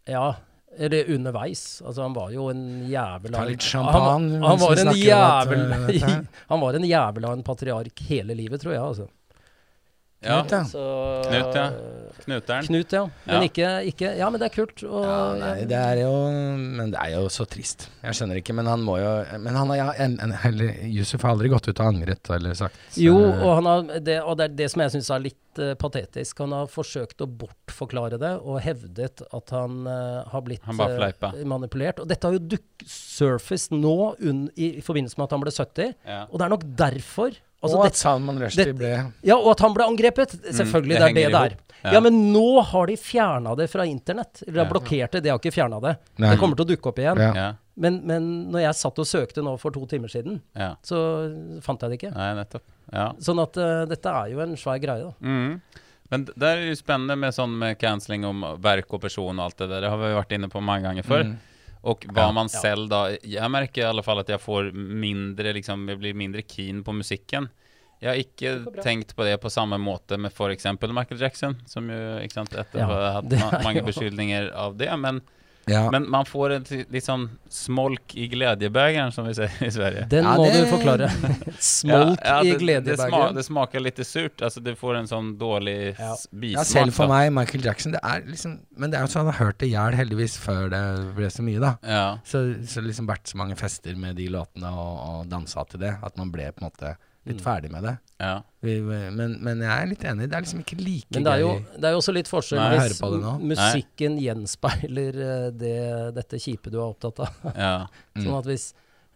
S3: Ja, eller underveis. Altså, han var jo en jævel
S1: Ta
S3: av-
S1: litt
S3: han,
S1: champagne
S3: han,
S1: mens
S3: var
S1: vi
S3: en
S1: snakker om at, eh,
S3: jævel,
S1: dette her.
S3: han var en jævel av en patriark hele livet, tror jeg. Altså.
S2: Ja,
S1: Knut, ja.
S3: Så, eh,
S2: Knut, ja. Knuteren.
S3: Knut, ja. Men
S2: Ja.
S3: Ikke, ikke Ja, men det er kult. Og,
S1: Ja, nei, det er jo Men det er jo så trist. Jeg skjønner ikke, men han må jo Men han har ja, en, en, heller, Yusuf har aldri gått ut og angret eller sagt
S3: Jo,
S1: eh,
S3: og, han har, det, og det er det som jeg syns er litt eh, patetisk. Han har forsøkt å bortforklare det, og hevdet at han eh, har blitt
S2: Han bare
S3: eh,
S2: fleipa.
S3: manipulert. Og dette har jo dukk surfaced nå unn, i, i forbindelse med at han ble 70,
S2: Ja.
S3: og det er nok derfor altså,
S1: Og
S3: dette-
S1: at Salman Rushdie
S3: det-
S1: ble Mm,
S3: Ja, og at han ble angrepet. Selvfølgelig,
S2: det
S3: det, er
S2: henger
S3: det det
S2: ihop.
S3: er.
S2: Ja.
S3: Ja. men nå har de fjerna det fra internett. Eller de har blokkert det, de har ikke fjerna det.
S1: Nei.
S3: Det kommer til å dukke opp igjen.
S1: Ja.
S2: Ja,
S3: Men, men når jeg satt og søkte nå for to timer siden,
S2: ja.
S3: så fant jeg det ikke.
S2: Nei, nettopp. Ja.
S3: Sånn at eh, dette er jo en svær greie, da.
S2: Mm. Men d- der er det jo spennende med sånn med cancelling om verk og person og alt det der. Det har vi vært inne på mange ganger
S3: Mm.
S2: før. Og hva man selv da Jeg merker i alle fall at jeg får mindre liksom, Jeg blir mindre keen på musikken. Jeg har ikke tenkt på det på samme måte med f.eks. Michael Jackson, som jo ikke sant, etterpå
S3: Ja,
S2: har hatt
S3: det
S2: ma
S3: er
S2: mange
S3: jo-
S2: beskyldninger av det. Men,
S1: ja.
S2: men man får en t- litt sånn smolk i gledebegeren, som vi sier i Sverige.
S3: Den
S1: Ja,
S3: må
S1: det-
S3: du forklare. Smolk
S2: Ja, ja,
S3: i
S2: det- det sma-
S3: gledebageren.
S2: Det smaker lite surt. Altså, du får en sånn dårlig
S3: Ja.
S2: s- bismak.
S1: ja, selv for
S2: da.
S1: meg, Michael Jackson det er liksom, Men det er jo sånn han har hørt det i hjel, heldigvis, før det ble så mye, da.
S2: Ja.
S1: Så, så liksom vært så mange fester med de låtene og, og dansa til det, at man ble på en måte litt
S3: Mm.
S1: ferdig med det.
S2: ja.
S1: Vi, men, men jeg er litt enig, det er liksom ikke like
S3: Men det er, jo,
S1: gøy.
S3: det er jo også litt forskjell
S1: Nei, jeg
S3: hvis
S1: hører på det nå.
S3: m- musikken gjenspeiler eh, det, dette kjipe du er opptatt av.
S2: Ja.
S3: Sånn at hvis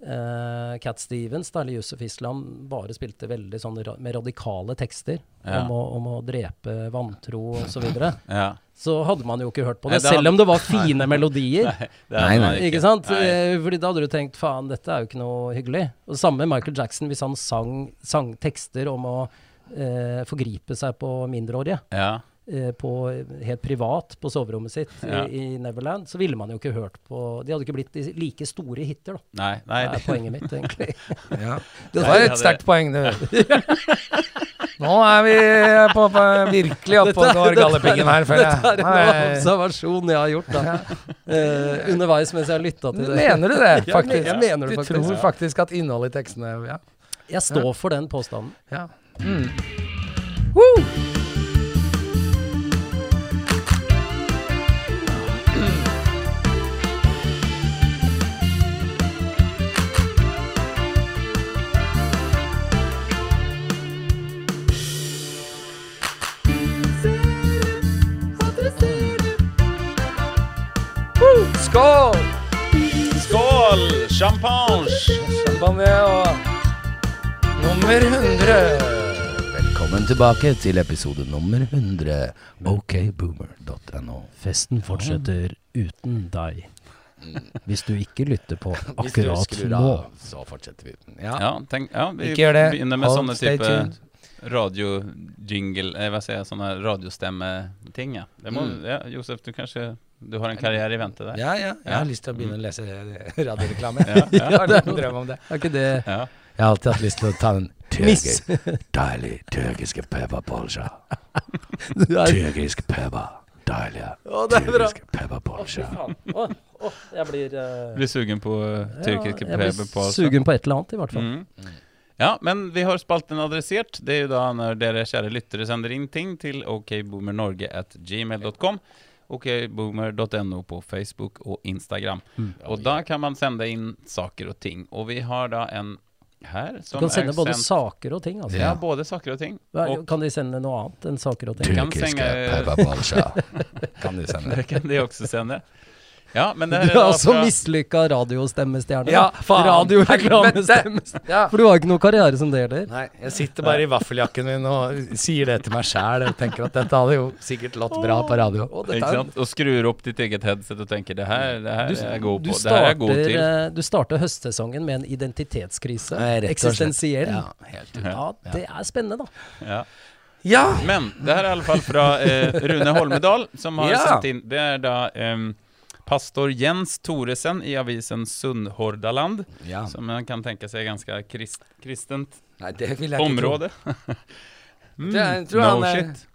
S3: eh, Cat Stevens da, eller Yusuf Islam bare spilte veldig sånn ra med radikale tekster
S2: Ja.
S3: om, å, om å drepe vantro og så videre,
S2: ja.
S3: så hadde man jo ikke hørt på
S2: Nei,
S3: det.
S2: det hadde-
S3: Selv om det var fine melodier.
S2: Det er
S1: Nei, nei.
S2: man
S3: Ikke sant?
S2: Nei.
S3: Eh, Fordi da hadde du tenkt faen, dette er jo ikke noe hyggelig. Og det samme med Michael Jackson, hvis han sang, sang tekster om å eh, forgripe seg på mindreårige
S2: Ja.
S3: eh, på, helt privat på soverommet sitt
S2: Ja.
S3: i, i Neverland, så ville man jo ikke hørt på De hadde ikke blitt de like store hiter, da.
S2: Nei,
S3: Det
S2: nei.
S3: er
S2: det-
S3: poenget mitt, egentlig.
S1: Ja.
S2: Nei,
S1: Det var
S2: det
S1: et
S2: hadde-
S1: sterkt poeng, det. Nå er vi på, på virkelig oppe og går gallepingen her, føler
S3: Dette er
S1: jeg.
S3: en
S1: Nei.
S3: observasjon jeg har gjort, da. Eh, underveis mens jeg lytta til det.
S1: Mener du det,
S3: Ja,
S1: faktisk?
S3: jeg mener det
S1: du
S3: faktisk.
S1: tror faktisk at innholdet i tekstene Ja.
S3: Jeg står for den påstanden.
S1: ja. Skål!
S2: Skål! Champagne!
S1: Champagne og nummer 100. Velkommen tilbake til episode nummer 100. Okboomer.no.
S3: Festen fortsetter uten deg. Hvis du ikke lytter på
S1: Hvis du
S3: akkurat
S1: skrur
S3: nå.
S1: av, så fortsetter vi. Ja.
S2: Ja, tenk, ja, vi
S1: Ikke gjør det.
S2: begynner med
S1: Hold-
S2: sånne
S1: stay
S2: type
S1: tuned.
S2: radiojingle eh, Hva sier jeg, sånne radiostemmeting. Ja. Det må, ja, Josef, du kanskje Du har en karriere i vente der.
S1: Ja, ja. Jeg har
S2: Ja.
S1: lyst til å begynne å lese radioreklame.
S2: Ja,
S1: Jeg har en drøm om det.
S3: Er ikke det
S2: Ja.
S1: Jeg har alltid hatt lyst til å ta den
S3: Miss.
S1: tyrkiske, deilig tyrkiske pepperbolsja.
S3: du er?
S1: Tyrkisk pepper. Deilig.
S3: Å, det er bra.
S1: Tyrkisk pepperbolsja.
S3: Å, å, jeg blir eh,
S2: Blir sugen på eh, tyrkiske
S3: ja, Jeg
S2: pebber på Mm.
S3: blir
S2: oss.
S3: sugen på et eller annet, i hvert fall.
S2: Ja, men vi har spalten adressert. Det er jo da når dere kjære lyttere sender inn ting til okboomernorge at gmail.com. Okboomer.no på Facebook og Instagram.
S3: Hmm.
S2: Og da kan man sende inn saker og ting. Og vi har da en her
S3: Du
S2: som
S3: kan sende
S2: er
S3: både
S2: sendt-
S3: saker og ting, altså.
S2: Ja, både saker og ting.
S3: Hva-
S2: Og
S3: Kan de sende noe annet enn saker og ting?
S2: kan sende
S1: Tyrkiske pepperbolsja. Kan du sende?
S2: Det kan de også sende. Ja, men det
S3: Du
S2: her er
S3: er
S2: da
S3: altså
S2: fra
S3: mislykka radiostemmestjerne.
S1: Ja, faen.
S3: Radioreklamestemme.
S9: Ja.
S3: For du har jo ikke noe karriere som det heller.
S9: Nei, jeg sitter bare i vaffeljakken min og sier det til meg sjæl og tenker at dette hadde jo sikkert lått bra på radio.
S3: Å, dette
S2: ikke
S3: er-
S2: sant? Og skrur opp ditt eget headset og tenker 'det her, det her
S3: Du,
S2: er jeg god
S3: du
S2: på'. Det her er jeg god
S3: starter,
S2: til.
S3: eh, du starter høstsesongen med en identitetskrise.
S9: Nei, rett og slett.
S3: Eksistensiell.
S9: Ja,
S3: Ja,
S9: helt
S3: det er spennende, da.
S2: Ja.
S1: Ja!
S2: Men det her er i alle fall fra eh, Rune Holmedal, som har
S1: Ja.
S2: sendt inn Det er da ehm, pastor Jens Thoresen i avisen Sunnhordaland,
S1: ja.
S2: som man kan tenke seg ganske krist, kristent
S1: Nei, det vil jeg ikke
S2: område.
S1: tro.
S2: Mm,
S1: Det, jeg tror
S2: no
S1: han er,
S2: shit.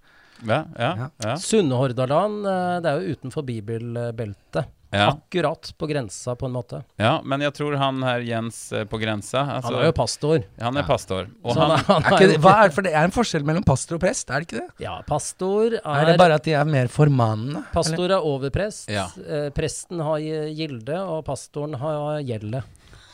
S2: Ja, ja, ja.
S3: Sunnhordaland, eh, det er jo utenfor bibelbeltet.
S2: ja,
S3: Akkurat på grensa, på en måte.
S2: ja. Men jeg tror han her, Jens eh, på grensa altså,
S3: Han er jo pastor.
S2: Han er pastor. Og
S3: Så han,
S2: han,
S3: er- han
S1: er
S3: er
S1: ikke,
S3: jo
S1: hva er, for det er en forskjell mellom pastor og prest, er det ikke det?
S3: Ja, pastor er,
S1: Er det bare at de er mer formanende?
S3: Pastor er overprest.
S2: Ja.
S3: Eh, presten har gi- gilde, og pastoren har gjelde.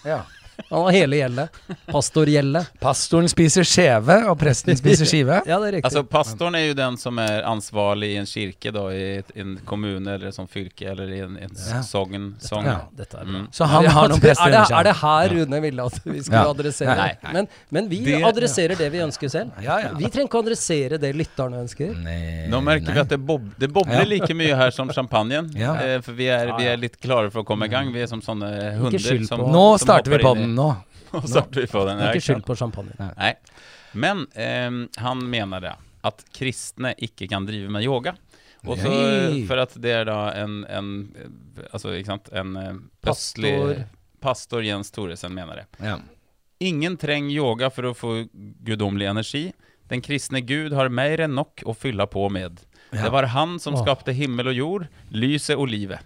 S1: Ja.
S3: Han har hele gjeldet. Pastorgjelde.
S1: Pastoren spiser skjeve, og presten spiser skive?
S3: Ja, det er riktig.
S2: Alltså pastorn är ju den som är ansvarig i en kyrka då, i ett- en kommun eller som fylke eller i en, en
S1: Ja.
S2: sågn. sågn.
S1: Ja.
S3: Dette er bra.
S2: Mm.
S1: Så han
S3: Ja,
S1: har noen
S3: det-
S1: prester
S3: er det,
S1: under seg.
S3: er det her Rune ville at vi skulle
S1: Ja.
S3: adressere
S1: Nei,
S3: det? Men, men vi
S2: Det-
S3: adresserer det vi ønsker selv.
S1: Ja, ja. Mm.
S3: Vi trenger ikke å adressere det lytterne ønsker.
S1: Eh, Nei,
S2: Nå merker vi at det, bob, det bobler
S1: Ja.
S2: like mye her som champagnen.
S1: Ja.
S2: Eh, for vi er, vi er litt klare for å komme i gang. Vi er som sånne hunder
S3: skyld
S2: som
S3: på-
S1: Nå
S2: som
S1: starter vi på
S2: hoppar in i-
S1: den, nå.
S2: Nå starter vi på den. Ja,
S3: Ikke
S2: exakt.
S3: skyld på champagne.
S2: Nej. Men ehm, han menade att kristne icke kan driva med yoga. Och så,
S1: Nej.
S2: för att det är då en, en eh, alltså, ikke sant, en eh,
S3: Pastor.
S2: östlig- pastor Jens Thoresen menar det.
S1: Ja.
S2: Ingen treng yoga for å få gudomlig energi. Den kristne Gud har mer enn nok å fylle på med. Det var han som skapte himmel og jord, lyset og livet.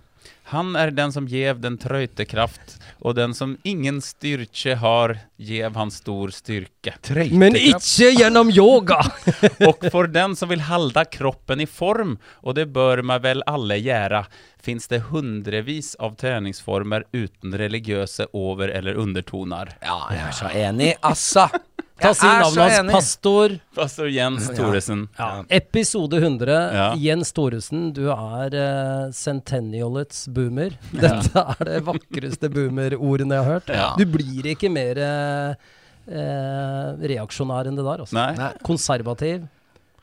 S2: Han er den som gjev den trøyte kraft, og den som ingen styrke har, gjev han stor styrke.
S3: Men ikke gjennom yoga!
S2: Och för den som vill halda kroppen i form, och det bör man väl alla göra, finns det hundrevis av träningsformer utan religiösa över eller undertoner.
S1: ja, jeg er så enig, assa!
S3: Ta si
S1: Jeg er så
S3: navnet hans.
S1: enig.
S3: Pastor.
S2: Pastor Jens Thoresen.
S3: Ja. Episode 100.
S2: Ja.
S3: Jens Thoresen, du er uh, centennialets boomer. Dette er det vakreste boomer-ordene jeg har hørt.
S2: Ja.
S3: Du blir ikke mer eh, eh, reaksjonær enn det der. Altså.
S2: Nej,
S3: Konservativ.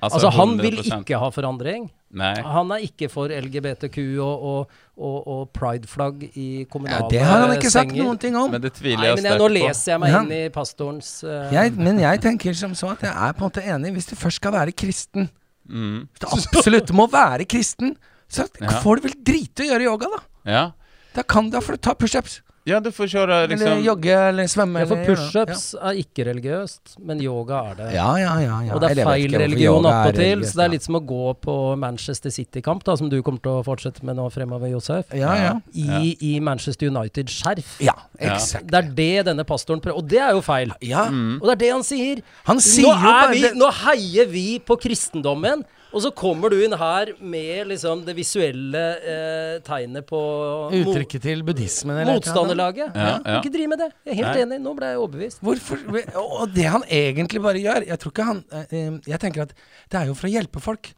S3: Altså, han Ah. vil
S2: 100%.
S3: ikke ha forandring.
S2: Nej.
S3: Han er ikke for LGBTQ og, og, og, og prideflagg i
S1: Ja,
S3: kommunale
S1: det har han ikke sagt
S3: senger.
S1: noen ting om.
S2: Men det tviler
S3: Nei,
S2: jeg
S3: men jeg,
S2: sterkt
S3: nå
S2: på.
S3: leser jeg meg
S1: Ja.
S3: inn i pastorens eh,
S1: Jeg, men jeg tenker som så at jeg er på en måte enig. Hvis du først skal være kristen, hvis du absolutt må være kristen, så
S2: Mm. Ja.
S1: får du vel drite å gjøre yoga, da.
S2: Ja.
S1: Da kan du, da får du ta pushups.
S2: ja, du får köra
S1: Eller
S2: liksom...
S1: jogge eller svømme.
S3: Ja, for
S1: eller gjøre noe.
S3: pushups er ikke religiøst, men yoga er det.
S1: Ja, ja, ja. ja.
S3: Og det
S1: Eller
S3: er
S1: jeg vet
S3: feil
S1: ikke hvorfor
S3: religion
S1: yoga er
S3: attpåtil,
S1: religiøst,
S3: så det
S1: ja.
S3: er litt som å gå på Manchester City-kamp, da, som du kommer til å fortsette med nå fremover, Josef.
S1: Ja, ja.
S3: I, i Manchester United-skjerf.
S1: Ja,
S2: Ja.
S1: eksakt.
S3: Det er det denne pastoren prøver Og det er jo feil. Mm.
S1: Ja.
S3: Og det er det han sier.
S1: Han sier jo
S3: nå, er
S1: bare
S3: vi,
S1: det-
S3: nå heier vi på kristendommen, og så kommer du inn her med liksom det visuelle eh, tegnet på mo-
S1: Uttrykket til buddhismen eller et eller annet.
S3: motstanderlaget.
S2: Ja, ja.
S3: Ikke driv med det. Jeg er helt
S2: Nei.
S3: enig. Nå ble jeg overbevist.
S1: Hvorfor, og det han egentlig bare gjør Jeg tror ikke han eh, eh, Jeg tenker at det er jo for å hjelpe folk.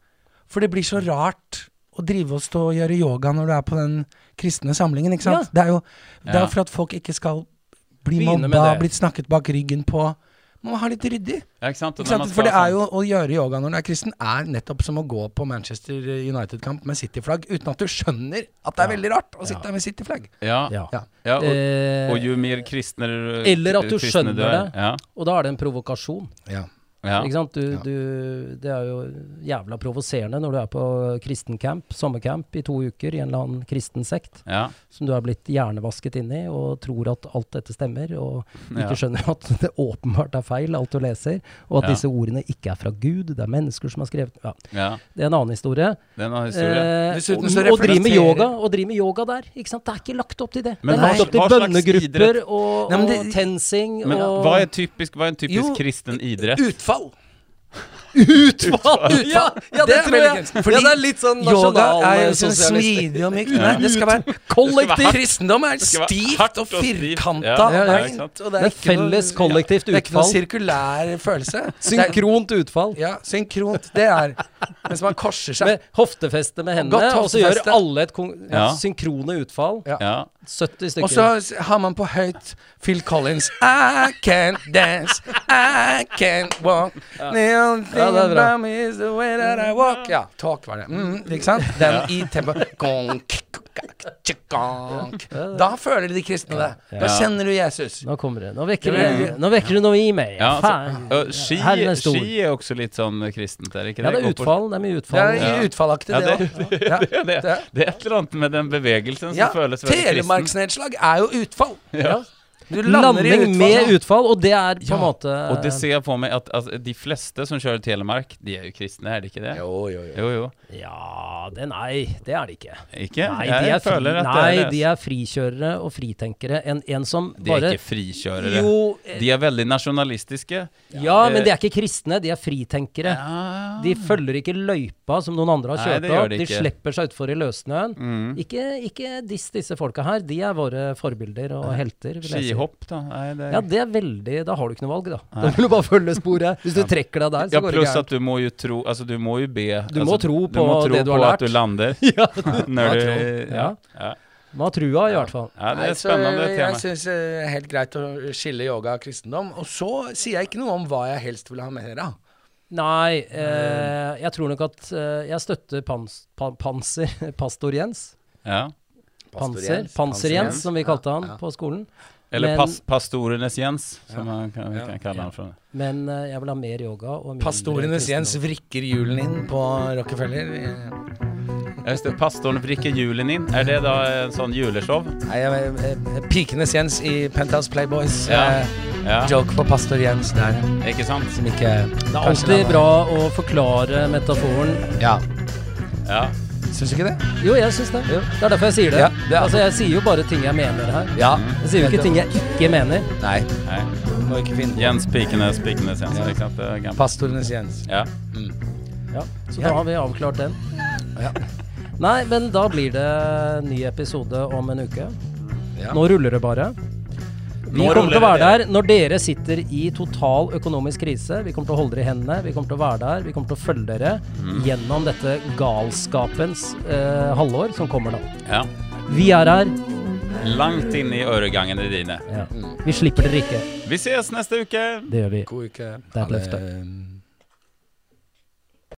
S1: For det blir så rart å drive og stå og gjøre yoga når du er på den kristne samlingen, ikke sant? Det er jo det er jo
S2: Ja.
S1: for at folk ikke skal bli
S3: Begynne med
S1: mobba,
S3: det.
S1: blitt snakket bak ryggen på. Man må ha litt ryddig.
S2: Ja, ikke sant? Och
S1: Ikke
S2: när man
S1: sant? For
S2: ska
S1: det er
S2: sån-
S1: jo å gjøre yoga når du er kristen, er nettopp som å gå på Manchester United-kamp med City-flagg uten at du skjønner at det er veldig rart å sitte der med City-flagg.
S2: Ja, ja.
S3: Ja.
S2: och,
S3: Eh,
S2: och ju mer kristne du-
S3: Eller att du
S2: kristne
S3: skjønner
S2: du är.
S3: det. Liksom.
S2: Ja,
S3: Og da er det en provokasjon.
S1: Ja.
S2: ja.
S3: Ikke sant? Du, du, det er jo jævla provoserende når du er på kristencamp, sommercamp, i to uker i en eller annen kristen sekt
S2: Ja,
S3: som du er blitt hjernevasket inn i, og tror at alt dette stemmer, og ikke
S2: Ja.
S3: skjønner at det åpenbart er feil, alt du leser, og at
S2: Ja.
S3: disse ordene ikke er fra Gud, det er mennesker som har skrevet ja.
S2: ja.
S3: Det er en annen historie.
S2: Den har historia.
S3: Eh,
S1: Dessuten
S3: og
S1: så
S3: og drive med
S1: referenserer-
S3: yoga og drive med yoga der. Ikke sant? Det er ikke lagt opp til det.
S2: Men
S3: det er
S2: hva-
S3: lagt opp til
S2: hva slags
S3: bønnegrupper
S2: idrett?
S3: og,
S1: Nei, men
S3: og
S1: det-
S3: tensing
S2: Men
S3: og
S2: vad är typisk, vad är en typisk
S1: Jo,
S2: kristen idrett?
S1: Utfall!
S3: Utvalg! Ja, ja, det,
S1: er
S3: tror
S1: veldig
S3: jeg.
S1: kunst.
S3: ja, det er litt sånn
S1: Yoga er jo sånn
S3: nasjonalsosialistisk.
S1: smidig og mykt. Nei, det skal være kollektiv. Kristendom er
S2: skal være
S1: stivt
S2: hardt
S1: og
S2: og stivt.
S1: firkanta.
S2: Ja,
S1: og
S2: ja,
S1: beint,
S2: ikke sant.
S1: og
S3: Det er
S1: ikke noe-
S3: felles kollektivt
S1: Det er ikke noe
S3: utfall.
S1: sirkulær følelse. Det er-
S3: Synkront utfall.
S1: Ja, synkront. Det er Mens man korser seg.
S3: Med hoftefeste med hendene,
S1: Godt
S3: og så gjør
S1: hoftefeste.
S3: alle et kon
S2: Ja.
S3: synkrone utfall.
S1: Ja.
S2: Ja.
S3: 70
S1: Og
S3: stykker.
S1: så s- har man på høyt Phil Collins I can't dance, I can't walk The only
S3: Ja,
S1: thing
S3: det er bra.
S1: about me is the way that I walk Ja, talk var det. Mm, ikke sant? Den i tempo Gong, k- k- k- k- gong. Da føler de kristne det. Da
S2: Ja.
S1: kjenner du Jesus.
S3: nå kommer det. Nå vekker
S1: Det
S3: du, nå vekker du noe i meg.
S2: Ja,
S3: Faen.
S2: altså, ø, ski,
S3: Herren er stor.
S2: ski er også litt sånn kristent, er det ikke
S3: Ja,
S2: det?
S3: det
S2: Går
S3: er
S2: på-
S3: utfall. Det er mye
S1: Det
S3: utfall.
S1: er utfallaktig,
S2: Ja,
S1: det
S2: det,
S1: òg.
S2: det, det, det,
S1: det-
S2: det er et eller annet med den bevegelsen som
S1: Ja,
S2: føles veldig kristen.
S1: telemarksnedslag er jo utfall.
S2: Ja.
S1: Du lander i
S3: Landing
S1: utfall.
S3: med utfall, og det er på en
S1: Ja,
S3: måte
S2: Og det ser jeg på meg at altså, de fleste som kjører Telemark, de er jo kristne, er det ikke det?
S1: Jo, jo, jo.
S2: Jo, jo.
S3: Ja, det nei, det er det ikke.
S2: Ikke?
S3: Nei,
S2: jeg
S3: de er, fri,
S2: føler at
S3: nei,
S2: det er det.
S3: de er frikjørere og fritenkere enn en som
S2: De er
S3: bare
S2: ikke frikjørere.
S3: Jo, eh,
S2: De er veldig nasjonalistiske.
S3: ja, men
S2: eh,
S3: de er ikke kristne, de er fritenkere. De følger ikke løypa som noen andre har
S2: Nei,
S3: kjørt
S2: det gjør
S3: opp.
S2: de
S3: De
S2: ikke. Mm.
S3: slipper seg utfor i løssnøen. Ikke, ikke diss disse folka her. De er våre forbilder og helter. vil jeg si.
S2: Skihopp, da. Nei, det er...
S3: Ja, det er veldig Da har du ikke noe valg, da. Da må du bare følge sporet. Hvis du trekker deg der, så
S2: Ja,
S3: går det
S2: pluss
S3: gærent.
S2: at du må jo tro Altså, du må jo be
S3: Du
S2: altså,
S3: må tro
S2: du må
S3: på
S2: tro
S3: det du har
S2: på
S3: lært.
S2: at du lander.
S3: Ja,
S2: Når du, ja.
S3: Ja.
S2: Ja.
S3: Man har trua, i hvert fall.
S2: ja, det
S1: Nei,
S2: er et
S1: så
S2: spennende
S1: Jeg
S2: tema.
S1: syns det er helt greit å skille yoga og kristendom. Og så sier jeg ikke noe om hva jeg helst vil ha mer av.
S3: Nei, eh, jeg tror nok at eh, jeg støtter pans, pa, Panser, Pastor Jens.
S2: Ja.
S3: Panser, panser Jens, som vi kalte han på skolen.
S2: Eller
S3: Men-
S2: pas, Pastorenes Jens, som man kan, vi kan kalle han for.
S3: Men eh, jeg vil ha mer yoga og mindre
S1: Pastorenes
S3: kristendom.
S1: Jens vrikker hjulen inn på Rockefeller.
S2: Ja, Just det, pastoren vrikker julen inn. Er det da en sånn juleshow?
S1: Nei, jeg- jeg- jeg- Pikenes Jens i Penthouse Playboys.
S2: Ja.
S1: Eh,
S2: Ja,
S1: Joke på pastor Jens der,
S2: ikke sant?
S1: som ikke
S3: Det er alltid bra å forklare metaforen.
S1: Ja.
S2: Ja.
S1: Syns du ikke det?
S3: Jo, jeg syns det. Det er derfor jeg sier det.
S1: Ja, det er-
S3: Altså, jeg sier jo bare ting jeg mener her.
S1: Ja.
S3: Jeg sier jo ikke ting jeg ikke mener.
S1: Mm. Nei.
S2: Nei.
S1: Må ikke finne på
S2: Jens Pikenes, Pikenes Jens, ikke sant? Det er gammelt.
S1: Pastorenes Jens.
S2: Ja.
S3: Ja, så da har vi avklart den. Nei, men da blir det ny episode om en uke.
S1: Ja.
S3: Nå ruller det bare. Vi
S2: Nå
S3: kommer til å
S2: ruller
S3: være
S2: det.
S3: der når dere sitter i total økonomisk krise. Vi kommer til å holde dere i hendene, vi kommer til å være der, vi kommer til å følge dere gjennom dette galskapens eh, halvår som kommer nå.
S2: ja.
S3: Vi er her,
S2: Langt inn i øregangene dine.
S3: vi slipper dere ikke.
S2: Vi ses neste uke!
S3: Det gjør vi.
S1: Mm. God uke.
S3: er et
S1: Ha
S3: løfte.
S1: det.